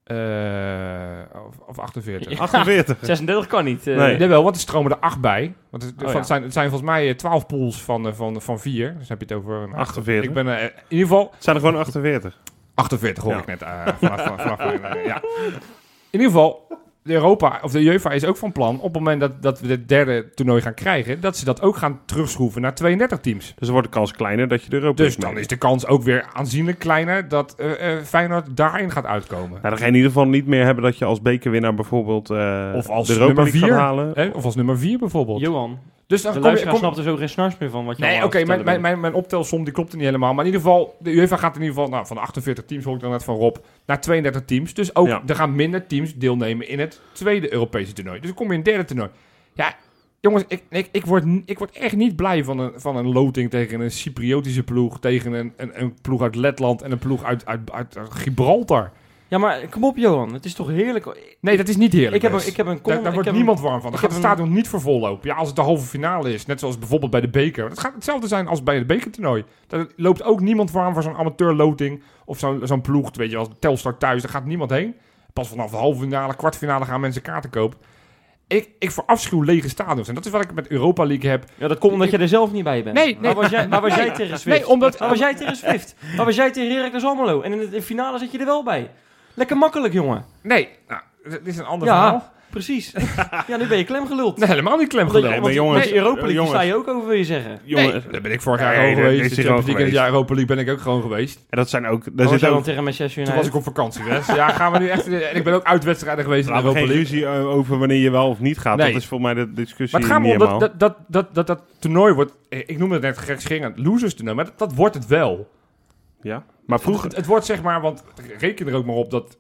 S3: Eh, eh, of, of 48.
S2: Ja.
S1: 48.
S2: 36 kan niet. eh.
S1: Nee.
S3: Nee, wel, want er stromen er acht bij. Want het,
S2: Oh,
S3: van-
S2: ja.
S3: het zijn, het zijn volgens mij eh, 12 pools van, eh, van, van vier. Dus heb je het over... nou,
S1: 48.
S3: Ik ben eh, in ieder geval...
S1: Het zijn er gewoon 48.
S3: 48 hoor
S1: Ja.
S3: ik net. eh, vanaf, vanaf, vanaf- eh, ja. In ieder geval, de Europa of de UEFA is ook van plan... op het moment dat, dat we het derde toernooi gaan krijgen... dat ze dat ook gaan terugschroeven naar 32 teams.
S1: Dus dan wordt de kans kleiner dat je de Europa
S3: Dus
S1: League
S3: dan
S1: meedoet.
S3: is de kans ook weer aanzienlijk kleiner... dat eh, eh, Feyenoord daarin gaat uitkomen.
S1: Nou, dan ga je in ieder geval niet meer hebben dat je als bekerwinnaar bijvoorbeeld eh,
S3: Of als
S1: de Europa
S3: nummer
S1: League
S3: vier.
S1: gaat halen.
S3: Hè? Of als nummer 4 bijvoorbeeld.
S2: Johan,
S3: dus
S2: de
S3: dan kom je,
S2: luisteraar
S3: kom,
S2: snapt er zo geen snars meer van wat je
S3: Nee,
S2: allemaal
S3: oké,
S2: aan het
S3: mijn, mijn,
S2: vertellen
S3: mijn, mijn optelsom die klopt niet helemaal. Maar in ieder geval, de UEFA gaat in ieder geval nou, van de 48 teams, hoor ik dan net van Rob, naar 32 teams. Dus ook,
S1: Ja.
S3: er gaan minder teams deelnemen in het tweede Europese toernooi. Dus dan kom je in het derde toernooi. Ja, jongens, ik, ik, ik, word, n- ik word echt niet blij van een, van een loting tegen een Cypriotische ploeg, tegen een, een, een ploeg uit Letland en een ploeg uit, uit, uit, uit Gibraltar.
S2: bent. Ja, maar kom op Johan, het is toch heerlijk. Ik
S3: Nee, dat is niet heerlijk.
S2: heb, een,
S3: best.
S2: ik heb een column-
S3: Daar, daar
S2: ik
S3: wordt
S2: heb
S3: niemand warm van. Dan
S2: ik
S3: gaat het
S2: heb een-
S3: stadion niet voor vol lopen. Ja, als het de halve finale is. Net zoals bijvoorbeeld bij de beker. Het gaat hetzelfde zijn als bij het bekertoernooi. Daar loopt ook niemand warm voor zo'n amateurloting. Of zo'n zo'n ploeg. Weet je, als Telstar thuis. Daar gaat niemand heen. Pas vanaf de halve finale, kwartfinale gaan mensen kaarten kopen. Ik, ik verafschuw lege stadions. En dat is wat ik met Europa League heb.
S2: een- Ja, dat komt omdat je er zelf niet bij bent.
S3: Nee, nee.
S2: Waar was jij, waar was jij tegen Swift?
S3: Nee, omdat-
S2: Waar was jij tegen Swift? Waar was jij tegen Heracles Almelo? En in de finale zit je er wel bij. Lekker makkelijk, jongen.
S3: Nee, nou, dit is een ander
S2: Ja.
S3: verhaal.
S2: Precies. ja, nu ben je klem
S3: Nee, helemaal niet klem
S2: Omdat je-
S1: Nee,
S2: want
S1: maar jongens,
S2: met Europa League
S1: jongens.
S2: sta je ook over, wil je zeggen.
S1: Jongens,
S3: daar ben ik vorig jaar
S1: Nee,
S3: gewoon
S1: daar-
S3: geweest.
S1: daar is
S3: De
S1: hij gewoon
S3: Champions League en het
S1: geweest.
S3: jaar Europa League ben ik ook gewoon geweest.
S1: en dat zijn ook... Daar
S3: Oh,
S2: Daar was
S1: zit
S2: jij dan
S1: ook...
S2: Oh, tegen Manchester
S3: Toen was ik
S2: United?
S3: op vakantie, Wes. Ja, gaan we nu echt... En ik ben ook uitwedstrijden geweest in de
S1: Laten we
S3: Europa
S1: geen
S3: League.
S1: ruzie eh, over wanneer je wel of niet gaat.
S3: Nee.
S1: Dat is voor mij de discussie
S3: Maar het gaat me
S1: niet
S3: om dat
S1: helemaal.
S3: dat, dat, dat, dat dat toernooi wordt... eh, Ik noemde het net gekscherend losers toernooi, maar dat, dat wordt het wel.
S1: Ja? Maar vroeger...
S3: Het, het wordt zeg maar, want reken er ook maar op dat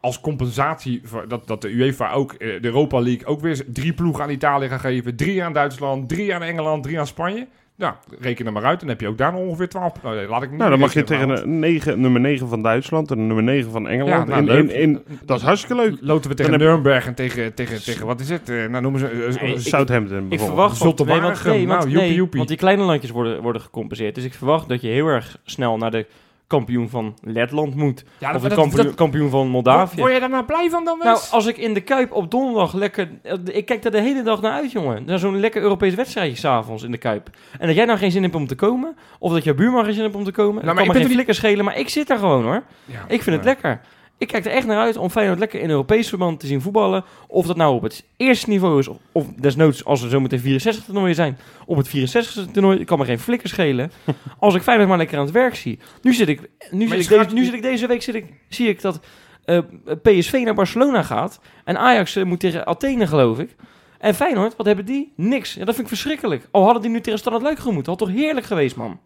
S3: als compensatie... voor- dat, dat de UEFA ook, eh, de Europa League ook weer drie ploegen aan Italië gaat geven. Drie aan Duitsland, drie aan Engeland, drie aan Spanje. Nou, reken er maar uit. Dan heb je ook daar nog ongeveer twaalf... Nou, nee, laat ik niet
S1: Nou, dan mag je
S3: rekenen,
S1: tegen
S3: want-
S1: een negen, nummer 9 van Duitsland en nummer 9 van Engeland.
S3: Ja, nou,
S1: in,
S3: leuk.
S1: in, in- dat is hartstikke leuk.
S3: Loten we tegen
S1: dan heb-
S3: Nuremberg en tegen, tegen, tegen... Wat is het? Eh, Nou, noemen ze... eh, eh,
S2: Nee, ik-
S1: Southampton
S2: Ik
S1: bijvoorbeeld.
S2: verwacht van-
S3: Zulte
S2: nee, want, nee,
S3: Waregem,
S2: want,
S3: nou, joepie,
S2: nee,
S3: joepie.
S2: want die kleine landjes worden, worden gecompenseerd. Dus ik verwacht dat je heel erg snel naar de kampioen van Letland moet.
S3: ja,
S2: of de kampioen, kampioen van Moldavië.
S3: Word je daar nou blij van dan, Wes?
S2: nou, als ik in de Kuip op donderdag lekker... Ik kijk daar de hele dag naar uit, jongen. Naar zo'n lekker Europees wedstrijdje s'avonds in de Kuip. En dat jij nou geen zin hebt om te komen... of dat jouw buurman geen zin hebt om te komen...
S3: Nou, maar
S2: dat kan
S3: ik
S2: me
S3: ben
S2: geen
S3: toch
S2: flikker schelen, maar ik zit daar gewoon, hoor.
S3: oh, Ja,
S2: Ik vind het
S3: maar-
S2: lekker. Ik kijk er echt naar uit om Feyenoord lekker in Europees verband te zien voetballen. Of dat nou op het eerste niveau is, of, of desnoods als er zometeen 64 toernooien zijn. Op het 64 toernooi, ik kan me geen flikker schelen. als ik Feyenoord maar lekker aan het werk zie. Nu zit ik, nu
S3: je
S2: zit ik,
S3: schaart-
S2: deze, nu zit ik deze week, zit ik, zie ik dat eh, PSV naar Barcelona gaat. En Ajax eh, moet tegen Athene, geloof ik. En Feyenoord, wat hebben die? Niks. Ja, dat vind ik verschrikkelijk. Al hadden die nu tegen Standard Luik gemoet. Had toch heerlijk geweest, man.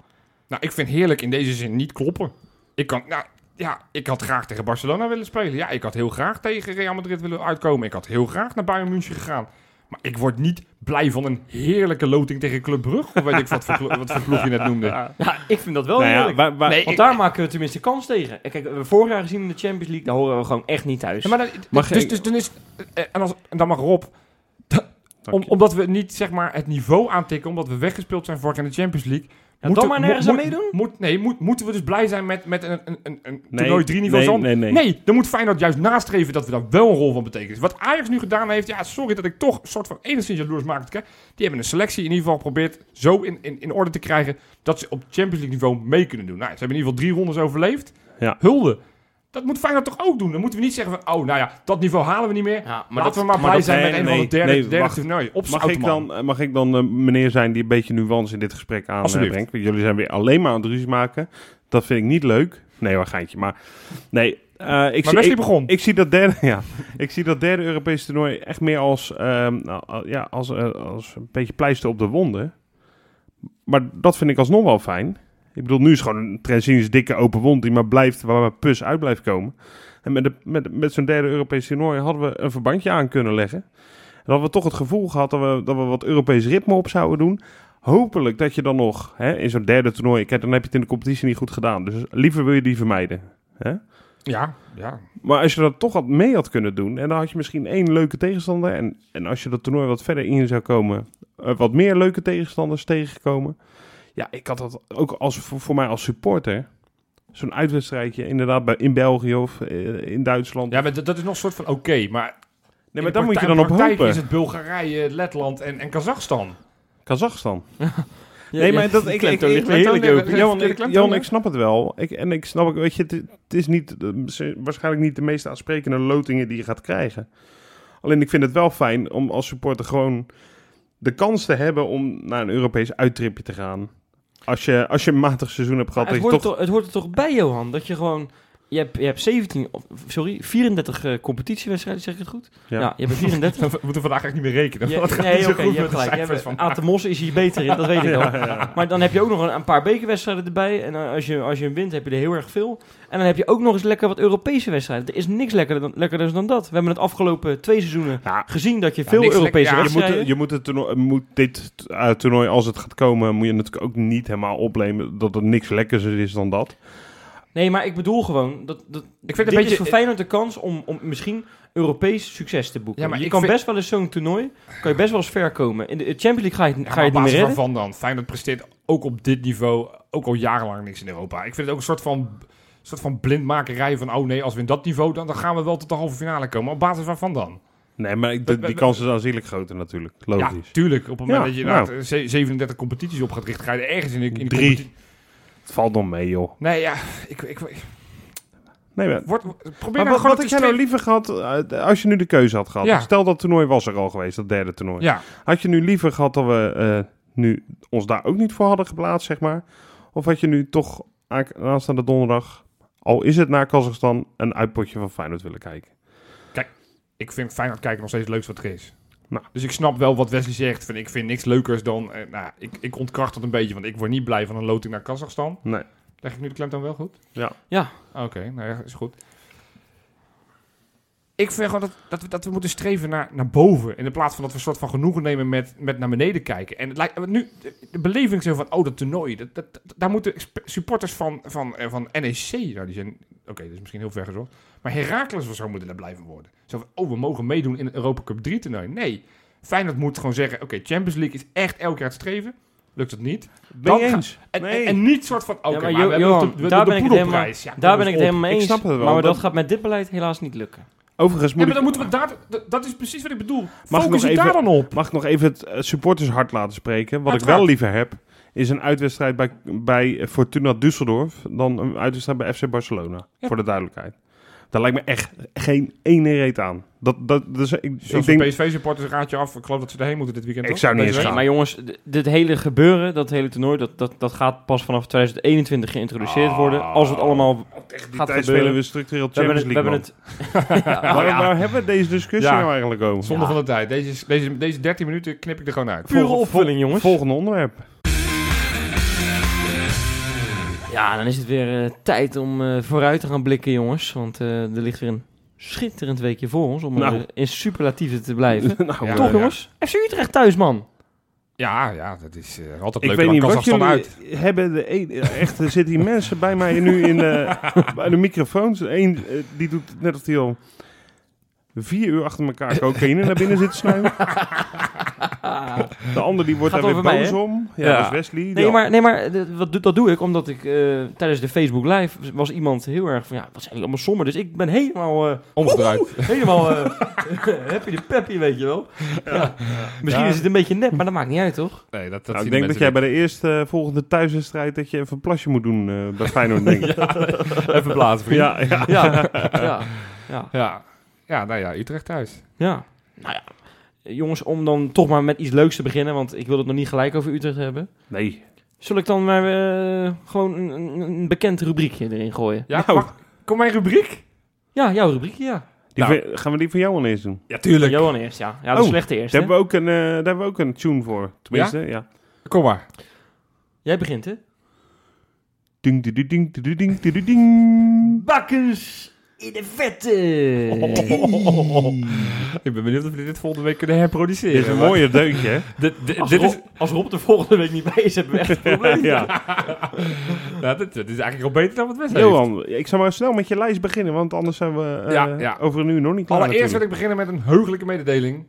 S3: Nou, ik vind heerlijk in deze zin niet kloppen. Ik kan, nou, ja, ik had graag tegen Barcelona willen spelen. Ja, ik had heel graag tegen Real Madrid willen uitkomen. Ik had heel graag naar Bayern München gegaan. Maar ik word niet blij van een heerlijke loting tegen Club Brugge. Of weet ik wat voor, klo- wat voor ploeg je net noemde.
S2: Ja, ik vind dat wel
S1: Nou ja,
S2: heerlijk.
S1: waar- waar-
S3: Nee,
S2: Want daar maken we tenminste kans tegen. En Kijk, we hebben vorig jaar gezien in de Champions League, daar horen we gewoon echt niet thuis.
S3: Ja, maar dan,
S1: Mag
S3: dus,
S1: ik-
S3: dus dan is... eh, En, als, en dan mag Rob...
S1: Dank
S3: Om,
S1: je.
S3: omdat we niet zeg maar, het niveau aantikken, omdat we weggespeeld zijn vorig jaar in de Champions League.
S2: dan
S3: moeten-
S2: maar
S3: mo-
S2: nergens
S3: mo-
S2: aan meedoen?
S3: Moet, nee, moet, moeten we dus blij zijn met, met een, een, een, een
S1: Nee,
S3: toernooi drie niveaus
S1: nee,
S3: ander-
S1: nee, nee.
S3: dan moet Feyenoord juist nastreven dat we daar wel een rol van betekenen. Dus Wat Ajax nu gedaan heeft, ja, sorry dat ik toch een soort van enigszins jaloers maak. Die hebben een selectie in ieder geval geprobeerd zo in, in, in orde te krijgen dat ze op Champions League niveau mee kunnen doen. Nou, ze hebben in ieder geval drie rondes overleefd.
S1: Ja.
S3: Hulde. Dat moet Feyenoord toch ook doen? Dan moeten we niet zeggen van, oh, nou ja, dat niveau halen we niet meer.
S2: Ja, maar
S3: Laten we
S2: dat-
S3: maar
S1: maar
S3: blij
S1: dat-
S3: zijn
S1: nee,
S3: met een
S1: nee,
S3: van de derde,
S1: nee,
S3: derde
S1: wacht.
S3: toernooi. Op
S1: Mag ik, dan, eh, mag ik dan eh, meneer zijn die een beetje nuance in dit gesprek aan-
S3: Alsjeblieft.
S1: eh, brengt? Want jullie zijn weer alleen maar aan het ruzie maken. Dat vind ik niet leuk. Nee, waar geintje. Maar nee, eh, ik,
S3: Maar
S1: zie,
S3: Wesley
S1: ik,
S3: begon.
S1: ik zie dat derde, ja, ik zie dat derde Europese toernooi echt meer als, ehm, nou, al- ja, als, eh, als een beetje pleister op de wonden. Maar dat vind ik alsnog wel fijn. Ik bedoel, nu is gewoon een Trenzini's dikke open wond die maar blijft, waar maar pus uit blijft komen. En met, de, met, met zo'n derde Europese toernooi hadden we een verbandje aan kunnen leggen. En hadden we toch het gevoel gehad dat we, dat we wat Europees ritme op zouden doen. Hopelijk dat je dan nog hè, in zo'n derde toernooi. Kijk, dan heb je het in de competitie niet goed gedaan. Dus liever wil je die vermijden.
S3: Ja, ja.
S1: Maar als je dat toch had mee had kunnen doen. En dan had je misschien één leuke tegenstander. En, en als je dat toernooi wat verder in zou komen. eh, wat meer leuke tegenstanders tegengekomen. Ja, ik had dat ook als, voor, voor mij als supporter. zo'n uitwedstrijdje, inderdaad bij, in België of eh, in Duitsland.
S3: Ja, maar dat, dat is nog een soort van oké,
S1: nee,
S3: maar... in
S1: maar
S3: de
S1: daar moet je
S3: praktijk-
S1: dan op
S3: praktijk
S1: hopen.
S3: is het Bulgarije, Letland en, en Kazachstan.
S1: Kazachstan.
S2: Ja,
S1: nee,
S2: ja,
S1: maar dat,
S2: die
S1: ik, ik,
S2: klemtoon
S1: ik,
S2: ligt
S1: ik-
S2: er
S3: klemtoon
S2: heerlijk
S3: hebben-
S2: open.
S3: we-
S1: Johan,
S3: verkeerde
S1: ik,
S3: klemtoon,
S1: Johan,
S3: hè?
S1: ik snap het wel. Ik, en ik snap ook, weet je, het, het is niet, eh, ze- waarschijnlijk niet de meest aansprekende lotingen die je gaat krijgen. Alleen ik vind het wel fijn om als supporter gewoon de kans te hebben om naar een Europees uittripje te gaan. Als je, als je een matig seizoen hebt gehad,
S2: Maar
S1: dat je
S2: het, hoort
S1: toch...
S2: toch... het hoort er toch bij, Johan, dat je gewoon... Je hebt, je hebt 17, of, sorry, 34 eh, competitiewedstrijden, zeg ik het goed?
S1: Ja.
S2: ja je hebt er 34.
S3: We moeten vandaag echt niet meer rekenen.
S2: Ja,
S3: want het gaat
S2: nee,
S3: niet
S2: oké,
S3: zo goed
S2: je hebt
S3: met de
S2: gelijk. Je
S3: cijfers
S2: hebt-
S3: van.
S2: Aad de Mos is hier beter in, dat weet ik al.
S1: Ja, ja.
S2: Maar dan heb je ook nog een, een paar bekerwedstrijden erbij. En eh, als je, als je hem wint, heb je er heel erg veel. En dan heb je ook nog eens lekker wat Europese wedstrijden. Er is niks lekkerder dan, lekkerder dan dat. We hebben het afgelopen twee seizoenen
S1: Ja.
S2: gezien dat je
S3: Ja,
S2: veel
S3: niks
S2: Europese
S3: lekker- ja, eh,
S1: Je moet,
S2: wedstrijden...
S1: je moet, het toernooi, moet dit eh, toernooi, als het gaat komen, moet je natuurlijk ook niet helemaal opnemen dat er niks lekkers is dan dat.
S2: Nee, maar ik bedoel gewoon... Dat, dat,
S3: Ik vind het
S2: dit
S3: een
S2: is
S3: beetje-
S2: voor Feyenoord de kans om, om misschien Europees succes te boeken.
S3: Ja, maar
S2: je
S3: ik
S2: kan
S3: vind-
S2: best wel eens zo'n toernooi... kan je best wel eens ver komen. In de Champions League ga je, het-
S3: Ja,
S2: ga
S3: maar
S2: je
S3: op
S2: het niet meer redden.
S3: basis waarvan dan? Feyenoord presteert ook op dit niveau ook al jarenlang niks in Europa. Ik vind het ook een soort van, soort van blindmakerij van... oh nee, als we in dat niveau, dan, dan gaan we wel tot de halve finale komen. Op basis waarvan dan?
S1: Nee, maar ik- de- die kans is aanzienlijk groter natuurlijk.
S3: Ja,
S1: Logisch.
S3: tuurlijk. Op het moment
S1: Ja,
S3: dat je
S1: nou.
S3: inderdaad, eh, ze- 37 competities op gaat richten... ga je er ergens in de, in de
S1: Drie.
S3: competitie-
S1: Het valt dan mee, joh.
S3: Nee, ja, ik... ik, ik
S1: Nee, maar,
S3: word, probeer
S1: maar
S3: nou
S1: wat, wat
S3: gewoon te
S1: had jij nou
S3: streven-
S1: liever gehad eh, als je nu de keuze had gehad?
S3: Ja.
S1: Stel dat toernooi was er al geweest, dat derde toernooi.
S3: Ja,
S1: Had je nu liever gehad dat we eh, nu ons daar ook niet voor hadden geplaatst, zeg maar? Of had je nu toch aan- aanstaande donderdag, al is het naar Kazachstan, een uitpotje van Feyenoord willen kijken?
S3: ik vind Feyenoord kijken nog steeds het leukste wat er is.
S1: Nou.
S3: Dus ik snap wel wat Wesley zegt. Van, ik vind niks leukers dan... eh, nou, ik, ik ontkracht dat een beetje, want ik word niet blij van een loting naar Kazachstan.
S1: Nee.
S3: Leg ik nu de klemtoon wel goed?
S1: Ja.
S2: Ja.
S3: Oké, nou ja, is goed. Ik vind gewoon dat, dat, we, dat we moeten streven naar, naar boven. In de plaats van dat we een soort van genoegen nemen met, met naar beneden kijken. En het lijkt want nu de, de beleving zo van, oh, dat toernooi. Dat, dat, dat- daar moeten sp- supporters van, van, eh, van NEC, nou, die zijn... Oké, dat is misschien heel ver gezocht. Maar Heracles of zo moeten daar blijven worden. Zo van, oh, we mogen meedoen in het Europa Cup 3 toernooi. Nee, Feyenoord moet gewoon zeggen, oké, Champions League is echt elk jaar het streven. Lukt het niet? Dan ga- En,
S1: Nee.
S3: en, en niet soort van, oké,
S2: Ja, maar
S3: maar,
S2: Jo-
S3: we hebben
S2: Johan,
S3: nog de, we-
S2: daar
S3: de
S2: ben ik het
S3: poedelprijs.
S2: helemaal-
S3: Ja,
S2: Daar ben ik
S3: kom eens
S2: het
S3: op.
S2: helemaal mee eens.
S1: Ik snap het wel,
S2: maar
S1: maar
S2: dat
S1: dat-
S2: gaat met dit beleid helaas niet lukken.
S1: Overigens
S3: Ja,
S1: moet
S3: maar
S1: ik,
S3: dan moeten we daar... dat- Dat is precies wat ik bedoel.
S1: nog
S3: Focus je
S1: even-
S3: daar dan op.
S1: mag ik nog even het eh, supportershart laten spreken. Wat ik
S3: Uiteraard.
S1: wel liever heb, is een uitwedstrijd bij, bij eh, Fortuna Düsseldorf dan een uitwedstrijd bij FC Barcelona.
S3: Ja.
S1: Voor de duidelijkheid. Daar lijkt me echt geen ene reet aan. Dat, dat, dus, ik, ik
S3: Zoals
S1: denk,
S3: de PSV-supporters raad je af. Ik geloof dat ze erheen moeten dit weekend.
S1: Ik
S3: toch?
S1: zou niet
S3: Deze
S1: eens
S3: week?
S2: Nee,
S1: gaan.
S2: maar jongens, d- dit hele gebeuren, dat hele toernooi, dat, dat, dat gaat pas vanaf 2021 geïntroduceerd worden. Als het allemaal...
S1: Oh, die
S2: gaat
S1: tijd
S2: gebeuren.
S1: spelen we structureel
S2: We Ah. hebben
S1: Champions
S2: het... We hebben
S1: League.
S2: het
S1: man. Waar, waar hebben we deze discussie
S3: Ja.
S1: nou eigenlijk over?
S3: Zonde van de tijd. Deze, is- deze, deze 13 minuten knip ik er gewoon uit.
S2: pure
S1: Volgende-
S2: opvulling, jongens.
S1: Volgende onderwerp.
S2: Ja, dan is het weer eh, tijd om eh, vooruit te gaan blikken, jongens. Want eh, er ligt weer een schitterend weekje voor ons om
S1: Nou.
S2: er in superlatieven te blijven.
S1: Nou,
S3: Ja,
S1: eh,
S2: Toch,
S3: ja.
S2: jongens? FC Utrecht thuis, man.
S3: Ja, ja, dat is eh, altijd
S1: Ik
S3: leuk.
S1: weet
S3: Dan
S1: niet
S3: kan
S1: wat
S3: Kazachstan
S1: jullie
S3: uit.
S1: hebben. De een- eh, echt, er zitten hier mensen bij mij nu in de, bij de microfoons. Eén eh, die doet net of die al vier uur achter elkaar cocaïne naar binnen zit te snuiven. De ander die wordt
S2: Gaat
S1: daar weer
S2: over mij,
S1: boos
S2: hè?
S1: om. Ja,
S2: Ja.
S1: dat is Wesley. Die
S2: Nee,
S1: al-
S2: maar, nee, maar eh, dat- wat doe- dat doe ik omdat ik eh, tijdens de Facebook Live was iemand heel erg van... Ja, wat zijn jullie allemaal somber? Dus ik ben helemaal... eh,
S3: Omgedraaid.
S2: Helemaal eh, happy de peppy, weet je wel. Ja. Misschien
S3: Ja.
S2: is het een beetje nep, maar dat maakt niet uit, toch?
S3: Nee, dat, dat
S1: Nou,
S3: zien
S1: ik
S3: de
S1: denk dat
S3: mensen
S1: jij bij de eerste eh, volgende thuiswedstrijd dat je even een plasje moet doen eh, bij Feyenoord, denk ik.
S3: niet. Even blazen, vriend. Ja.
S1: ja, ja.
S2: Ja, ja, ja.
S3: Ja. nou ja, Utrecht thuis.
S2: ja. Nou ja, eh, jongens, om dan toch maar met iets leuks te beginnen, want ik wil het nog niet gelijk over Utrecht hebben.
S1: Nee.
S2: Zul ik dan maar eh, gewoon een, een, een bekend rubriekje erin gooien?
S3: Ja,
S1: Nou.
S3: mag- kom mijn rubriek?
S2: Ja, jouw rubriekje, ja.
S1: Die
S3: Nou.
S1: van- gaan we die van jou al eens doen?
S3: Ja, tuurlijk.
S2: Johan eerst, ja. Ja, de
S1: Oh,
S2: slechte eerst,
S1: Daar
S2: hè?
S1: hebben, we ook een, eh, daar hebben we ook een tune voor. Tenminste, ja.
S3: Kom maar.
S2: Jij begint, hè?
S1: Ding, ding, ding, ding, ding, ding, ding, ding.
S2: Bakkens in de vette!
S3: Ik ben benieuwd of we dit volgende week kunnen herproduceren.
S1: Dit is een mooie deuntje, hè?
S3: Dit, dit,
S2: Als,
S3: dit is,
S2: Rob, als Rob de volgende week niet bij is, hebben we echt een probleem.
S1: Ja.
S3: ja, Nou, dit, dit is eigenlijk al beter dan wat Wesley heeft.
S1: Johan, ik zou maar snel met je lijst beginnen, want anders zijn we eh,
S3: Ja, ja.
S1: over een uur nog niet klaar.
S3: Allereerst wil
S1: natuurlijk.
S3: ik beginnen met een heugelijke mededeling.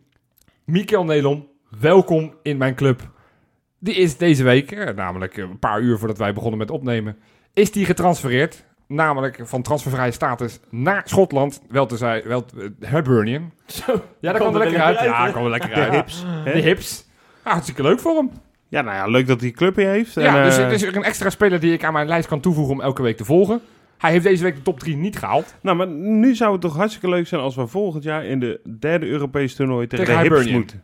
S3: Mikel Nelom, welkom in mijn club. Die is deze week, eh, namelijk een paar uur voordat wij begonnen met opnemen, is die getransfereerd namelijk van transfervrije status naar Schotland, wel te zijn, wel te- eh, Hibernian. Ja, daar kwam er lekker uit. Ja, kwam er lekker
S1: De
S3: uit.
S1: hips. hè?
S3: De hips. Ja, hartstikke leuk voor hem.
S1: Ja, nou ja, leuk dat hij een clubje heeft. en,
S3: ja, dus
S1: eh,
S3: het is weer een extra speler die ik aan mijn lijst kan toevoegen om elke week te volgen. Hij heeft deze week de top 3 niet gehaald.
S1: Nou, maar nu zou het toch hartstikke leuk zijn als we volgend jaar in de derde Europese toernooi tegen,
S3: Tegen
S1: de hips
S3: Hibernian.
S1: moeten.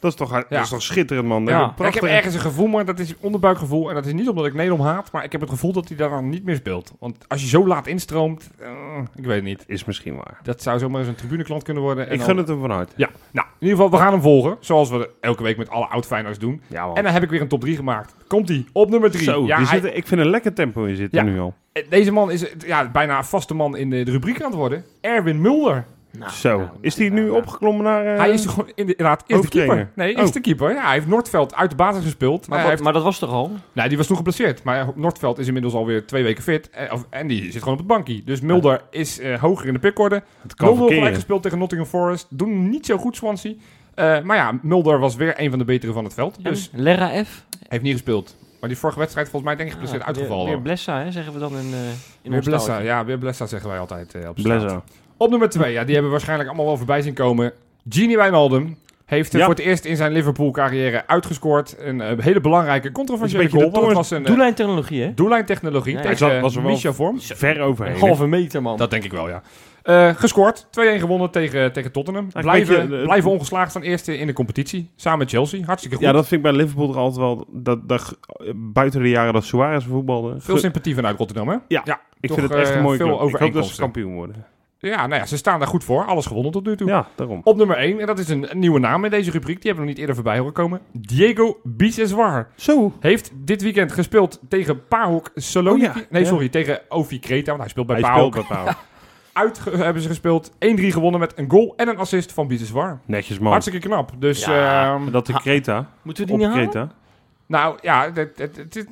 S1: Dat is toch, ha- dat is toch schitterend, man.
S2: Ja.
S1: Ja.
S3: Ik heb
S1: Prachtig.
S3: ergens een gevoel, maar dat is een onderbuikgevoel. En dat is niet omdat ik Nederland haat, maar ik heb het gevoel dat hij daar dan niet meer speelt. Want als je zo laat instroomt, eh, ik weet het niet.
S1: Is misschien waar.
S3: Dat zou zomaar eens een tribuneklant kunnen worden. En
S1: Ik
S3: dan-
S1: gun het hem van harte.
S3: Ja, nou, in ieder geval, we gaan hem volgen. Zoals we elke week met alle oud doen.
S1: Ja, man.
S3: En dan heb ik weer een top 3 gemaakt. Komt hij op nummer 3.
S1: Zo,
S3: ja,
S1: die
S3: hij-
S1: zitten, ik vind een lekker tempo in zitten
S3: Ja.
S1: nu al.
S3: deze man is eh, ja, bijna een vaste man in de, de rubriek aan het worden. Erwin Mulder.
S2: Nou,
S1: Zo, is die nu opgeklommen naar... eh,
S3: hij is gewoon in de- inderdaad eerste
S1: hoofdtrainer. Oh.
S3: keeper. Nee, eerste keeper. Ja, hij heeft Noordveld uit de basis gespeeld.
S2: Maar,
S3: Eh,
S2: wat-
S3: hij heeft-
S2: maar dat was toch al?
S3: nou, die was toen geblesseerd. Maar Noordveld is inmiddels alweer twee weken fit. Eh, of- en die zit gewoon op het bankje. Dus Mulder is eh, hoger in de pickorde.
S1: Het kan
S3: 0 gelijk
S1: verkeren.
S3: gespeeld tegen Nottingham Forest. Doen niet zo goed, Swansea. Eh, maar ja, Mulder was weer een van de betere van het veld. Dus
S2: Dus Lera F.
S3: Hij heeft niet gespeeld. Maar die vorige wedstrijd volgens mij denk ik geblesseerd
S2: Ja,
S3: uitgevallen.
S2: Weer, weer Blessa, hè, zeggen we dan in, eh in
S3: Weer
S2: ons
S3: Blessa,
S2: taaltje.
S3: ja, weer Blessa zeggen wij altijd eh, op straat.
S1: Blessa.
S3: Op nummer 2, ja, die hebben we waarschijnlijk allemaal wel voorbij zien komen. Genie Wijnaldum heeft eh,
S1: Ja.
S3: voor het eerst in zijn Liverpool-carrière uitgescoord. Een eh, hele belangrijke, controversiële
S1: Dat is een
S3: goal.
S1: beetje
S3: Want het
S1: de
S3: was een eh,
S2: Doellijntechnologie, hè?
S3: doellijntechnologie
S2: Ja, ja.
S1: Hij
S3: tegen
S1: zat- was er wel-
S3: Misha Vorm.
S1: Ver
S2: Een
S1: overheen.
S2: halve meter, man.
S3: Dat denk ik wel, ja. Eh, gescoord, 2-1 gewonnen tegen, tegen Tottenham.
S1: een
S3: Blijven,
S1: beetje, eh,
S3: blijven ongeslagen staan eerste in de competitie. Samen met Chelsea, hartstikke goed.
S1: Ja, dat vind ik bij Liverpool toch altijd wel... Dat, dat, buiten de jaren dat Suarez voetbalde...
S3: Veel
S1: Ge-
S3: sympathie vanuit Rotterdam, hè?
S1: Ja. ik
S3: toch,
S1: vind het echt
S3: eh,
S1: een mooie
S3: veel
S1: club. Ik hoop dat ze
S3: overeenkomsten.
S1: kampioen worden.
S3: Ja, nou ja, ze staan daar goed voor. Alles gewonnen tot nu toe.
S1: Ja, daarom.
S3: Op nummer 1, en dat is een, een nieuwe naam in deze rubriek, die hebben we nog niet eerder voorbij horen komen. Diego Biseswar
S1: Zo.
S3: heeft dit weekend gespeeld tegen Pahok Saloniki.
S1: Oh ja,
S3: nee,
S1: ja.
S3: sorry, tegen Ovi Kreta, want hij speelt bij
S1: Hij
S3: Pahok.
S1: speelt bij Pauw.
S3: Uit hebben ze gespeeld, 1-3 gewonnen met een goal en een assist van Biseswar.
S1: Netjes, man.
S3: Hartstikke knap. Dus,
S2: Ja,
S3: ehm,
S1: Dat de Creta.
S2: Moeten we die
S1: Op
S2: niet halen?
S1: Creta.
S3: nou ja, het, het, het is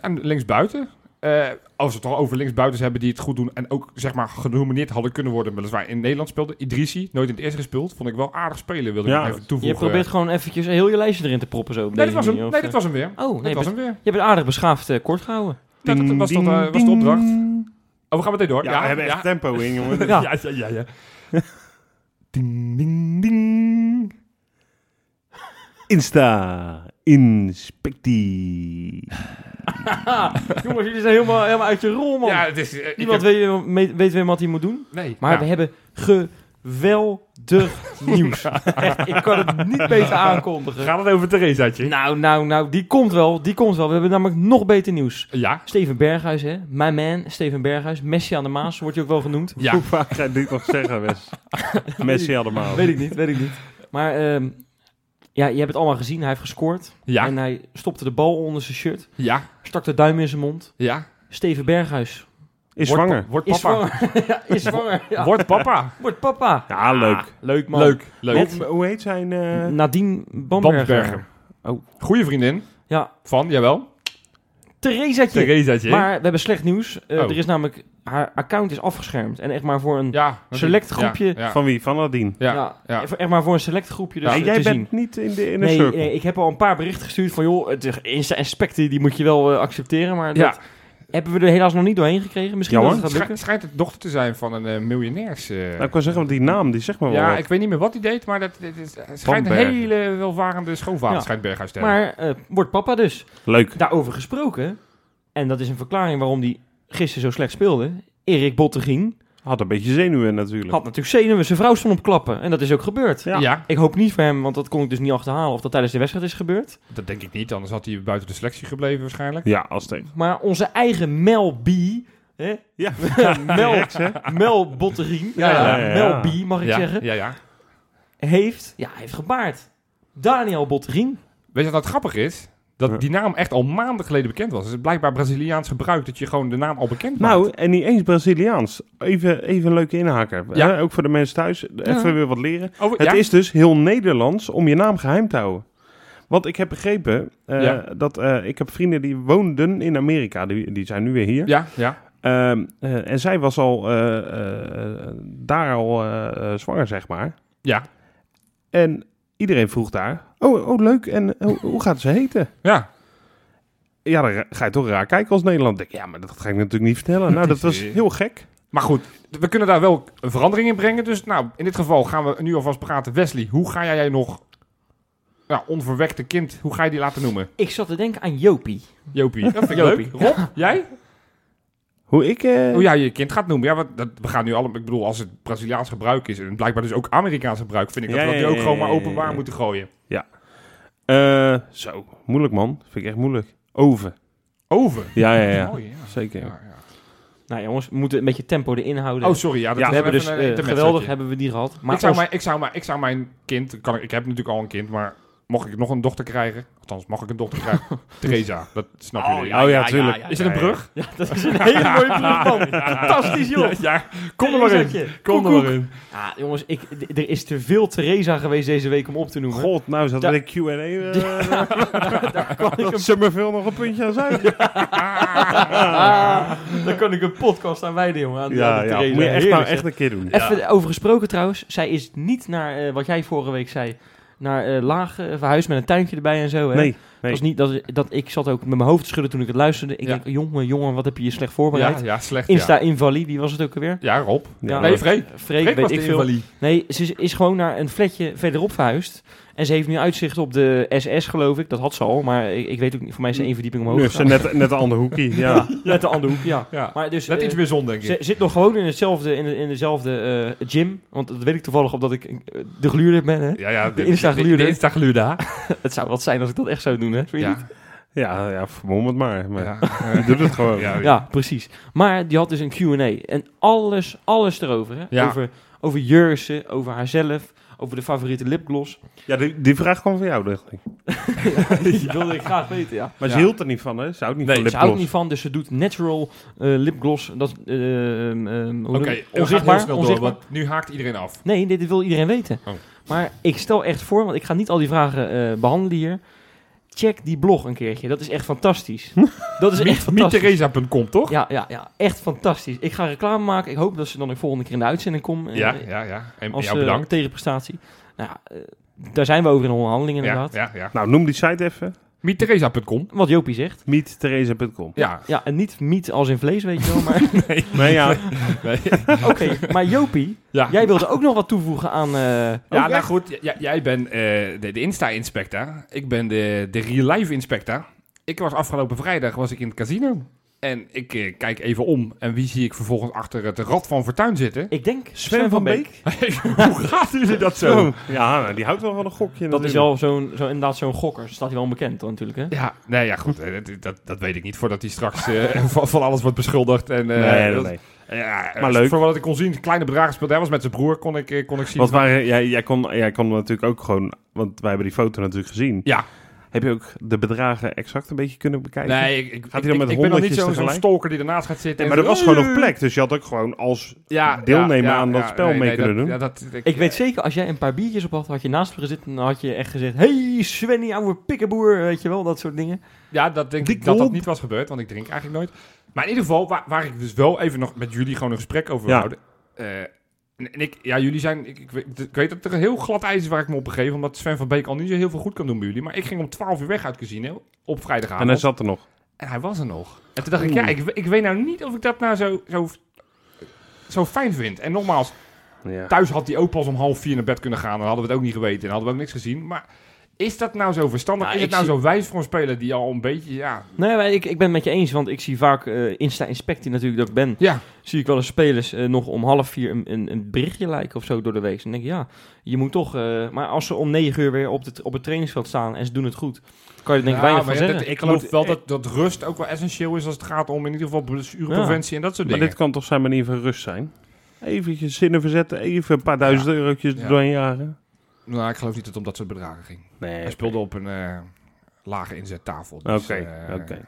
S3: en linksbuiten. Eh, als we het al over linksbuitens hebben die het goed doen en ook zeg maar genomineerd hadden kunnen worden, weliswaar in Nederland speelde. Idrissi, nooit in het eerste gespeeld, vond ik wel aardig spelen, wilde ik
S1: Ja,
S3: nog even toevoegen.
S2: Je probeert gewoon eventjes heel je lijstje erin te proppen zo. op
S3: Nee,
S2: deze
S3: dit was hem,
S2: manier,
S3: nee,
S2: of,
S3: dit was hem weer.
S2: eh, Oh, nee,
S3: dit
S2: je
S3: was
S2: bent-
S3: hem weer.
S2: je bent aardig beschaafd eh, kort gehouden.
S3: Dat, dat was, dat, eh, was de opdracht. Oh, we gaan meteen door.
S1: Ja, we hebben echt tempo in, jongen.
S2: Ja.
S3: ja, ja. ja. ding, ding, ding.
S1: Insta. Inspectie.
S2: Jongens, jullie zijn helemaal, helemaal uit je rol, man.
S3: Ja, het is... eh, ik
S2: Niemand
S3: heb-
S2: weet, weer- me- weet weer wat hij moet doen.
S3: Nee.
S2: Maar
S3: ja.
S2: we hebben geweldig nieuws. Echt, ik kan het niet beter aankondigen.
S3: Gaat het over Theresaatje?
S2: Nou, nou, nou, die komt wel, die komt wel. We hebben namelijk nog beter nieuws.
S3: Ja.
S2: Steven Berghuis, hè? My man, Steven Berghuis. Messi aan de Maas, wordt je ook wel genoemd.
S3: Ja.
S1: Hoe vaak ga je dit nog zeggen, Wes? Messi
S3: Oh.
S1: allemaal.
S2: Weet ik niet, weet ik niet. Maar ehm, ja, je hebt het allemaal gezien. Hij heeft gescoord.
S3: Ja.
S2: En hij stopte de bal onder zijn shirt.
S3: Ja.
S2: Stak de duim in zijn mond.
S3: Ja.
S2: Steven Berghuis.
S1: Is
S3: Wordt
S1: zwanger.
S3: pa- Wordt
S2: Is
S3: papa.
S2: zwanger. ja, is zwanger. Ja.
S3: Wordt papa.
S2: Wordt papa.
S1: Ja, leuk.
S2: Leuk man.
S3: Leuk. Ah, Leuk.
S1: Hoe, hoe heet zijn... eh,
S2: Nadine Bamberger.
S3: Bamberger.
S1: Oh.
S3: Goeie vriendin.
S2: Ja.
S3: Van, jawel.
S2: Theresaatje.
S3: Theresaatje.
S2: Maar we hebben slecht nieuws. Eh,
S3: Oh.
S2: Er is namelijk... Haar account is afgeschermd. En echt maar voor een...
S3: Ja.
S2: Select
S3: Ja,
S2: groepje.
S3: Ja.
S1: Van wie? Van Nadine.
S3: Ja.
S2: ja,
S3: ja.
S2: Echt maar voor een select groepje dus
S1: Ja,
S2: eh,
S1: jij
S2: te
S1: bent
S2: zien.
S1: niet in de inner
S2: Nee,
S1: circle.
S2: nee, ik heb al een paar berichten gestuurd van... joh, het Insta-inspectie die moet je wel eh, accepteren. Maar
S3: Ja.
S2: dat hebben we er helaas nog niet doorheen gekregen. Misschien
S1: Ja,
S2: dat
S1: hoor.
S2: het gaat lukken.
S3: Schij- Schijnt het dochter te zijn van een eh, miljonairs... eh,
S1: Nou, ik kan zeggen, want die naam, die zegt maar wel
S3: Ja,
S1: wat.
S3: ik weet niet meer wat hij deed, maar dat, dit is, het schijnt een
S1: Berg.
S3: hele welvarende schoonvader,
S2: Ja.
S3: schijnt Berghuis te hebben.
S2: Maar eh, wordt papa dus.
S1: Leuk.
S2: Daarover gesproken... en dat is een verklaring waarom die gisteren zo slecht speelde... Erik Bottegien
S1: Had een beetje zenuwen natuurlijk.
S2: had natuurlijk zenuwen. Zijn vrouw stond op klappen. En dat is ook gebeurd.
S1: Ja.
S3: Ja,
S2: Ik hoop niet voor hem, want dat kon ik dus niet achterhalen of dat tijdens de wedstrijd is gebeurd.
S3: dat denk ik niet, anders had hij buiten de selectie gebleven waarschijnlijk.
S1: Ja, als tegen.
S2: Maar onze eigen Mel B, hè?
S1: Ja.
S2: Mel, Mel Botterien, ja,
S3: Ja,
S1: ja, ja.
S2: Mel B mag ik
S3: ja,
S2: zeggen,
S3: ja, ja.
S2: heeft, ja, heeft gebaard. Daniel Botterien.
S3: Weet je wat nou grappig is? Dat
S1: Ja.
S3: die naam echt al maanden geleden bekend was. Het is blijkbaar Braziliaans gebruik dat je gewoon de naam al bekend maakt.
S1: Nou, en niet eens Braziliaans. Even, even een leuke inhaker.
S3: Ja.
S1: Hè, Ook voor de mensen thuis. Even weer wat leren.
S3: Oh,
S1: Het
S3: ja?
S1: is dus heel Nederlands om je naam geheim te houden. Want ik heb begrepen eh,
S3: Ja.
S1: dat eh, ik heb vrienden die woonden in Amerika. Die, die zijn nu weer hier.
S3: Ja, ja.
S1: Ehm, eh, en zij was al eh, eh, eh, daar al eh, eh, zwanger, zeg maar.
S3: Ja,
S1: eh, En iedereen vroeg daar: Oh, oh leuk. En oh, hoe gaat ze heten?
S3: ja.
S1: ja, dan ra- ga je toch raar kijken als Nederland. Denk, ik, ja, maar dat ga ik natuurlijk niet vertellen. Nou, dat was heel gek.
S3: Maar goed, we kunnen daar wel een verandering in brengen. Dus nou, in dit geval gaan we nu alvast praten. Wesley, hoe ga jij nog... Ja, onverwekte kind, hoe ga je die laten noemen?
S2: Ik zat te denken aan Jopie.
S3: Jopie. Dat vind ik
S2: Jopie.
S3: leuk. Rob, jij?
S1: Hoe ik... eh,
S3: Hoe jij je kind gaat noemen. Oh Ja, wat, dat, we gaan nu allemaal... Ik bedoel, als het Braziliaans gebruik is... en blijkbaar dus ook Amerikaans gebruik... vind ik
S1: Ja,
S3: dat we dat
S1: ja,
S3: nu ook
S1: ja,
S3: gewoon
S1: ja,
S3: maar
S1: ja,
S3: openbaar
S1: ja.
S3: moeten gooien.
S1: eh, zo, moeilijk man. Vind ik echt moeilijk. Oven.
S3: Oven.
S1: Ja, ja, ja.
S3: Mooi, ja.
S1: Zeker.
S3: Ja, ja.
S2: Nou jongens, we moeten een beetje tempo erin houden.
S3: Oh, sorry. Ja, dat
S1: Ja,
S3: was
S2: we hebben
S3: even
S2: dus
S3: een
S2: eh,
S3: intermezzootje.
S2: geweldig hebben we die gehad. Maar
S3: ik, zou
S2: ons-
S3: mijn, ik, zou mijn, ik zou mijn kind, kan ik, ik heb natuurlijk al een kind, maar mocht ik nog een dochter krijgen, althans mag ik een dochter krijgen, Theresa, dat snap jullie.
S1: Oh ja, tuurlijk.
S3: Is het een brug?
S2: Ja, dat is een hele mooie brug man. Fantastisch joh.
S3: ja. kom er maar in.
S2: Theresaatje.
S3: Kom er
S2: Koekoek.
S3: maar in.
S2: Ja, jongens, ik, d- er is te veel Theresa geweest deze week om op te noemen.
S1: God, nou zat
S2: Ja.
S1: met de Q&A. eh,
S2: daar, kan ik
S1: dat
S2: een,
S1: Summerville nog een puntje aan zuigen.
S2: Ah, daar kan ik een podcast aan wijden, jongen. Aan, aan
S1: Ja,
S2: de
S1: ja.
S2: Theresa.
S1: Moet je echt,
S2: nou, Heerlijk,
S1: nou
S2: zeg.
S1: echt een keer doen.
S2: Even over gesproken trouwens. Zij is niet naar, eh, wat jij vorige week zei, naar eh laag eh, verhuisd met een tuintje erbij en zo. Hè?
S1: Nee,
S2: Dat
S1: nee.
S2: was niet, dat, dat, ik zat ook met mijn hoofd te schudden toen ik het luisterde. Ik
S3: Ja.
S2: denk, jongen, jongen, wat heb je je slecht
S3: Ja,
S2: voorbereid.
S3: ja, slecht.
S2: Insta
S3: Ja.
S2: Invali, wie was het ook alweer?
S3: ja, Rob.
S1: Ja,
S3: Nee,
S1: dat-
S3: Freek.
S2: Freek,
S3: Freek
S2: weet
S3: was
S2: ik
S3: de
S2: veel.
S3: invalide.
S2: Nee, ze is- is gewoon naar een flatje verderop verhuisd. En ze heeft nu uitzicht op de SS, geloof ik. Dat had ze al, maar ik, ik weet ook niet. Voor mij is ze één verdieping omhoog
S1: Nu is ze
S2: gegaan.
S1: net, net een ander hoekje. Ja.
S2: Net de andere hoek, ja.
S3: Ja.
S2: Maar dus,
S3: Net
S2: eh,
S3: iets meer zon, denk
S2: ze
S3: ik.
S2: zit nog gewoon in, hetzelfde, in, de- in dezelfde eh, gym. Want dat weet ik toevallig omdat ik eh, de gluurder ben, hè.
S3: Ja, ja. De,
S2: Insta-gluurder.
S3: de- de Insta-gluurder.
S2: Het zou wat zijn als ik dat echt zou doen, hè. Vind je niet?
S3: Ja.
S1: Ja, ja, vermom het maar. maar
S3: Ja.
S2: eh,
S1: Je doet het gewoon.
S3: Ja.
S2: Ja, precies. Maar die had dus een Q&A. En alles, alles erover. Hè?
S3: Ja.
S2: Over, over Jursen, over haarzelf, over de favoriete lipgloss.
S1: Ja, die, die vraag kwam van jou, dacht ik.
S2: Die wilde ik graag weten, ja.
S1: Maar ze
S3: Ja.
S1: hield er niet van, hè? Ze houdt niet
S3: Nee,
S1: van
S2: Ze houdt niet
S1: lipgloss.
S2: van, dus ze doet natural eh, lipgloss. Dat, is, eh, ehm, ehm, hoe
S3: Oké,
S2: noem je-
S3: we gaan heel snel door,
S2: onzichtbaar.
S3: want nu haakt iedereen af.
S2: Nee, dit wil iedereen weten.
S3: Oh.
S2: Maar ik stel echt voor, want ik ga niet al die vragen eh, behandelen hier. Check die blog een keertje. Dat is echt fantastisch. dat is echt fantastisch.
S3: MietTheresa.com, toch?
S2: Ja, ja, ja, echt fantastisch. Ik ga reclame maken. Ik hoop dat ze dan de volgende keer in de uitzending komt. eh,
S3: Ja, ja, ja. En
S2: Als
S3: jou
S2: eh,
S3: bedankt.
S2: tegenprestatie. Nou, ja, eh, daar zijn we over in de onderhandeling
S3: Ja,
S2: inderdaad.
S3: ja, ja.
S1: Nou, noem die site even.
S3: MietTheresa.com.
S2: Wat Jopie zegt.
S1: MeetTheresa.com.
S3: Ja,
S2: Ja, en niet miet als in vlees, weet je wel. Maar
S1: Nee, ja.
S2: oké, maar Jopie,
S3: ja.
S2: jij wilde ook nog wat toevoegen aan... eh,
S3: Ja,
S1: Oh,
S3: nou
S1: echt?
S3: goed, j- j- jij bent eh, de, de Insta-inspector. Ik ben de, de Real Life Inspector. Ik was afgelopen vrijdag was ik in het casino. En ik eh, kijk even om. En wie zie ik vervolgens achter het rad van Fortuin zitten?
S2: ik denk Sven,
S1: Sven van Beek.
S3: Hoe gaat jullie dat
S2: Oh.
S3: zo?
S1: Zo. Ja, nou, die houdt wel van een gokje.
S2: Dat is
S1: al
S2: wel zo'n, zo, inderdaad zo'n gokker. Staat hij wel onbekend dan natuurlijk, hè?
S3: Ja, nee, ja, goed. eh, Dat, dat, dat weet ik niet. Voordat hij straks eh, van, van alles wordt beschuldigd. En, eh,
S1: nee, nee,
S3: dat-
S1: nee.
S3: Ja, eh,
S1: Maar leuk.
S3: Voor wat ik kon zien, kleine bedragen speelde. Hij was met zijn broer, kon ik, eh, kon ik zien.
S1: Wat waren, jij, jij, kon, jij kon natuurlijk ook gewoon... Want wij hebben die foto natuurlijk gezien.
S3: Ja.
S1: Heb je ook de bedragen exact een beetje kunnen bekijken?
S3: Nee, ik, ik,
S1: Gaat hij
S3: ik,
S1: dan met
S3: ik ben nog niet
S1: honderdjes
S3: zo'n- zo'n
S1: tegelijk?
S3: stalker die ernaast gaat zitten.
S1: Nee,
S3: en
S1: maar er
S3: zo,
S1: was gewoon nog
S3: "Oei."
S1: plek. Dus je had ook gewoon als... deelnemen aan dat spel mee kunnen
S3: dat-
S1: doen.
S3: Ja, dat,
S2: Ik weet zeker, als jij een paar biertjes op had, had je naast me gezeten en dan had je echt gezegd... Hey Svenny, ouwe pikkenboer, weet je wel, dat soort dingen.
S3: Ja, dat denk
S1: Die
S3: ik dat dat
S1: klomp.
S3: niet was gebeurd, want ik drink eigenlijk nooit. Maar in ieder geval, waar, waar ik dus wel even nog met jullie gewoon een gesprek over wil
S1: Ja.
S3: houden. Eh, en, en ik, ja, jullie zijn, ik, ik, weet- ik weet dat er een heel glad ijs is waar ik me op begeef, omdat Sven van Beek al niet zo heel veel goed kan doen bij jullie. Maar ik ging om 12 uur weg uit het casino, op vrijdagavond.
S1: En hij zat er nog.
S3: En hij was er nog. En toen dacht ik,
S1: Oeh.
S3: ja, ik, we- ik weet nou niet of ik dat nou zo, zo, zo fijn vind. En nogmaals,
S1: Ja.
S3: thuis had hij ook pas om half vier naar bed kunnen gaan. Dan hadden we het ook niet geweten en hadden we ook niks gezien. Maar is dat nou zo verstandig?
S2: Nou,
S3: is het
S2: ik
S3: nou
S2: zie-
S3: zo wijs voor een speler die al een beetje, ja...
S2: Nee, maar ik, ik ben het met je eens, want ik zie vaak eh, Insta-inspect, die natuurlijk dat ik ben...
S3: Ja,
S2: zie ik wel eens spelers eh, nog om half vier een, een, een berichtje lijken of zo door de week. Dan denk ik, ja, je moet toch... eh, maar als ze om negen uur weer op, de, op het trainingsveld staan en ze doen het goed, kan je er denk ik
S3: Ja,
S2: weinig
S3: maar
S2: van
S3: ja,
S2: zeggen.
S3: dat- ik geloof
S1: moet-
S3: wel dat, dat rust ook wel essentieel is als het gaat om in ieder geval blessurepreventie en dat soort
S1: Maar
S3: dingen.
S1: dit kan toch zijn manier van rust zijn? Even je zinnen verzetten, even een paar duizend eurotjes
S3: Ja.
S1: er doorheen jagen.
S3: Nou, ik geloof niet dat het om dat soort bedragen ging.
S1: Nee,
S3: Hij speelde op een eh, lage inzettafel.
S1: Oké,
S3: Dus,
S1: oké.
S3: eh,
S1: Nou, ik hoop
S3: Dus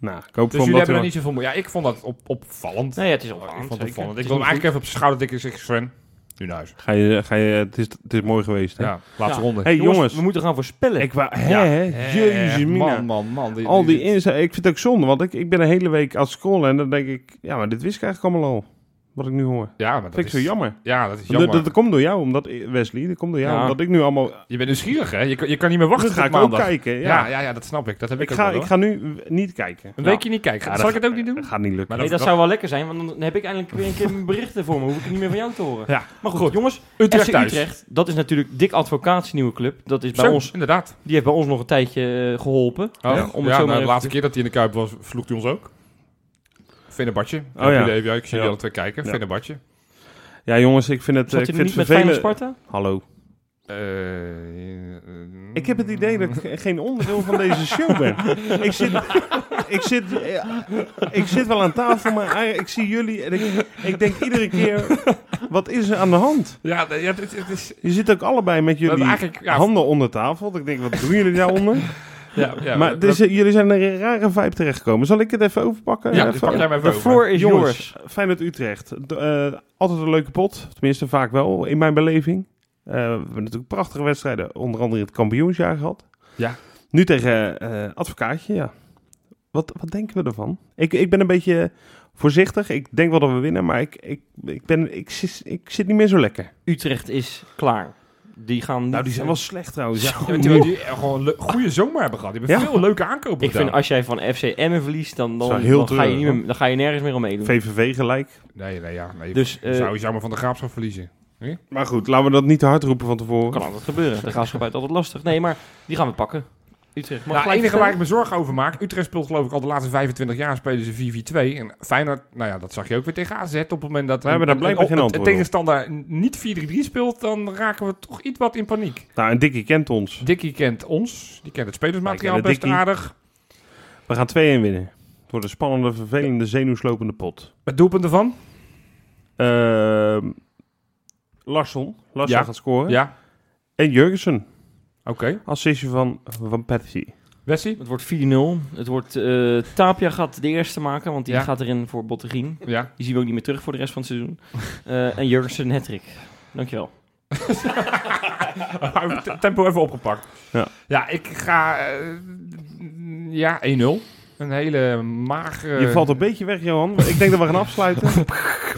S1: voor hem
S3: jullie
S1: dat
S3: hebben
S1: hij
S3: er
S1: wel-
S3: niet zoveel moeite. Ja, ik vond dat op, opvallend.
S2: Nee, ja, het is
S3: Oh, ik
S2: opvallend.
S3: vond het
S2: zeker.
S3: opvallend.
S2: Het is
S3: Ik wil hem
S2: niet
S3: eigenlijk even op zijn schouder tikken en zeggen, Sven, nu naar huis.
S1: Ga je, ga je, het, is, het is mooi geweest. Hè?
S3: Ja, laatste
S2: Ja.
S3: ronde.
S1: hey,
S2: goed.
S1: jongens,
S2: we moeten gaan voorspellen.
S1: ik wou, hè,
S3: Ja.
S1: hè?
S3: Eh,
S1: jezus mina.
S3: Man, man, man. Die-
S1: Al die inzet, ik vind het ook zonde, want ik, ik ben een hele week aan het scrollen en dan denk ik, ja, maar dit wist ik eigenlijk allemaal al. Wat ik nu hoor.
S3: Ja, maar dat
S1: Dat vind ik
S3: is,
S1: zo jammer.
S3: Ja, dat is
S1: Dat,
S3: jammer.
S1: dat, dat komt door jou, omdat Wesley, dat komt door jou.
S2: Ja.
S1: Omdat ik nu allemaal.
S3: Je bent nieuwsgierig, hè? Je, kan- je kan niet meer wachten
S1: dat ga
S3: tot
S1: ik ook
S3: maandag.
S1: kijken. Ja.
S3: Ja, ja, ja, dat snap ik. Dat heb ik,
S1: ik,
S3: ook
S1: ga,
S3: wel,
S1: ik
S3: hoor.
S1: ga nu w- niet kijken.
S3: Een
S1: Ja.
S3: weekje niet kijken.
S1: Ja,
S3: Zal
S1: dat
S3: ik het ook niet doen?
S1: Gaat niet lukken.
S3: Maar
S2: Nee, dat
S3: dat-
S2: zou wel lekker zijn, want dan heb ik eindelijk weer een keer mijn berichten voor me. Hoef ik niet meer van jou te horen.
S3: Ja,
S2: Maar goed,
S3: Goed.
S2: jongens,
S3: Utrecht
S2: FC
S3: thuis.
S2: Utrecht, dat is natuurlijk Dick Advocaat's nieuwe club. Dat is bij
S3: Zo,
S2: ons,
S3: inderdaad.
S2: die heeft bij ons nog een tijdje eh, geholpen.
S3: Oh,
S2: Hè,
S3: ja,
S2: om het zo
S3: nou,
S2: maar
S3: de
S2: even
S3: laatste
S2: te-
S3: keer dat hij in de Kuip was, vloekt hij ons ook. Fenerbahce. Ik
S1: Oh,
S3: heb
S1: ja.
S3: een idee, ja, Ik zie jullie
S1: Ja.
S3: alle twee kijken.
S1: Ja.
S3: Fenerbahce.
S1: Ja, jongens, ik vind het, eh,
S2: Zat
S1: ik
S2: hij
S1: vind
S2: er
S1: het
S2: niet met Feyenoord
S1: vervelend.
S2: Sparta?
S1: Hallo.
S3: Eh, eh,
S1: Ik heb het idee dat ik geen onderdeel van deze show ben. Ik zit, ik zit, eh, ik zit wel aan tafel, maar eigenlijk- ik zie jullie en ik, ik denk iedere keer, wat is er aan de hand?
S3: Ja, nee, ja, het, het is...
S1: Je zit ook allebei met
S3: dat
S1: jullie
S3: eigenlijk, ja,
S1: handen onder tafel. Dat ik denk, wat doen jullie daaronder?
S3: ja, ja,
S1: maar dus-
S3: dat-
S1: dit is- jullie zijn in een rare vibe terechtgekomen. Zal ik het even overpakken?
S3: Ja,
S1: Even-
S3: dus pak jij maar even
S2: De
S3: over.
S2: floor is yours.
S1: Jongens, Feyenoord Utrecht. D- eh, altijd een leuke pot. Tenminste, vaak wel, in mijn beleving. Eh, we hebben natuurlijk prachtige wedstrijden. Onder andere in het kampioensjaar gehad.
S3: Ja.
S1: Nu tegen eh Advocaatje, ja. Wat, wat denken we ervan? Ik, ik ben een beetje voorzichtig. Ik denk wel dat we winnen, maar ik, ik, ik, ben, ik, zit, ik zit niet meer zo lekker.
S2: Utrecht is klaar. Die gaan niet-
S1: Nou, die zijn wel slecht trouwens. Ja.
S3: Ja, maar terwijl die eh, gewoon een le- goede zomer hebben gehad. Die hebben
S1: Ja.
S3: veel leuke aankopen
S2: Ik vind,
S3: gedaan.
S2: als jij van FC Emmen verliest, dan,
S1: Dat
S2: dan,
S1: is wel heel
S2: dan ga je niet
S1: treurig,
S2: meer, dan ga je nergens meer om meedoen.
S1: VVV gelijk.
S3: Nee, nee, ja. Nee,
S2: Dus eh,
S3: zou je zou maar van de graaf zou verliezen.
S1: Maar goed, laten we dat niet te hard roepen van tevoren.
S2: kan altijd gebeuren. De graafschap is altijd lastig. Nee, maar die gaan we pakken. Utrecht mag
S3: Nou, het
S2: gelijk
S3: enige waar ik
S2: vertellen.
S3: me zorgen over maak... Utrecht speelt geloof ik al de laatste 25 jaar spelen ze 4-4-2. En Feyenoord, nou ja, dat zag je ook weer tegen AZ. Op het moment dat
S1: We hebben daar
S3: een-
S1: blijkbaar
S3: een-
S1: geen
S3: een-
S1: antwoord
S3: een
S1: op.
S3: tegenstander niet 4-3 speelt... dan raken we toch iets wat in paniek.
S1: Nou, en Dikkie kent ons.
S3: Dikkie kent ons. Die kent het spelersmateriaal
S1: Wij kennen
S3: best
S1: Dikkie.
S3: aardig.
S1: We gaan 2-1 winnen. Het wordt een spannende, vervelende, zenuwslopende pot.
S3: Het doelpunt ervan?
S1: Ehm Larsson. Larsson
S3: Ja.
S1: gaat scoren.
S3: Ja,
S1: En Jurgensen.
S3: oké.
S1: Assistje van, van Patsy.
S3: Eh. Wessie?
S2: Het wordt 4-0. Het wordt, eh, Tapia gaat de eerste maken, want die
S3: Ja.
S2: gaat erin voor Botterien.
S3: Ja.
S2: Die zien we ook niet meer terug voor de rest van het seizoen. Eh, en Jurgensen Hattrick. Dankjewel.
S3: Te- Tempo even opgepakt.
S1: Ja.
S3: ja ik ga... eh, ja, 1-0. Een hele magere...
S1: Je valt een beetje weg, Johan. Ik denk dat we gaan afsluiten.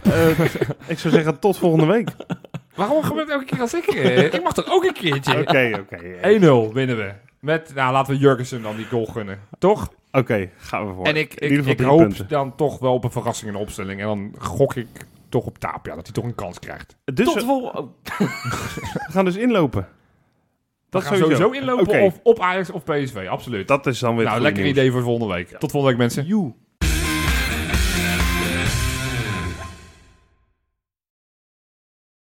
S1: Eh, ik zou zeggen tot volgende week. Oké,
S3: Waarom gebeurt het elke keer als ik... eh, ik mag toch ook een keertje?
S1: oké. Oké,
S3: 1-0 winnen we. Met, nou, laten we Jurgensen dan die goal gunnen. Toch?
S1: gaan we voor.
S3: En ik,
S1: In ieder
S3: ik,
S1: geval
S3: ik
S1: drie
S3: hoop
S1: punten.
S3: dan toch wel op een verrassing in de opstelling. En dan gok ik toch op Tapia, dat hij toch een kans krijgt.
S1: Dus
S2: Tot
S1: we
S2: vol. oh,
S1: gaan dus inlopen. Dat
S3: Dat gaan we
S1: sowieso.
S3: sowieso inlopen
S1: Oké.
S3: of op Ajax of PSV, absoluut.
S1: Dat is dan weer het
S3: nou,
S1: goede
S3: lekker
S1: nieuws.
S3: idee voor volgende week. Tot volgende week, mensen.
S2: you.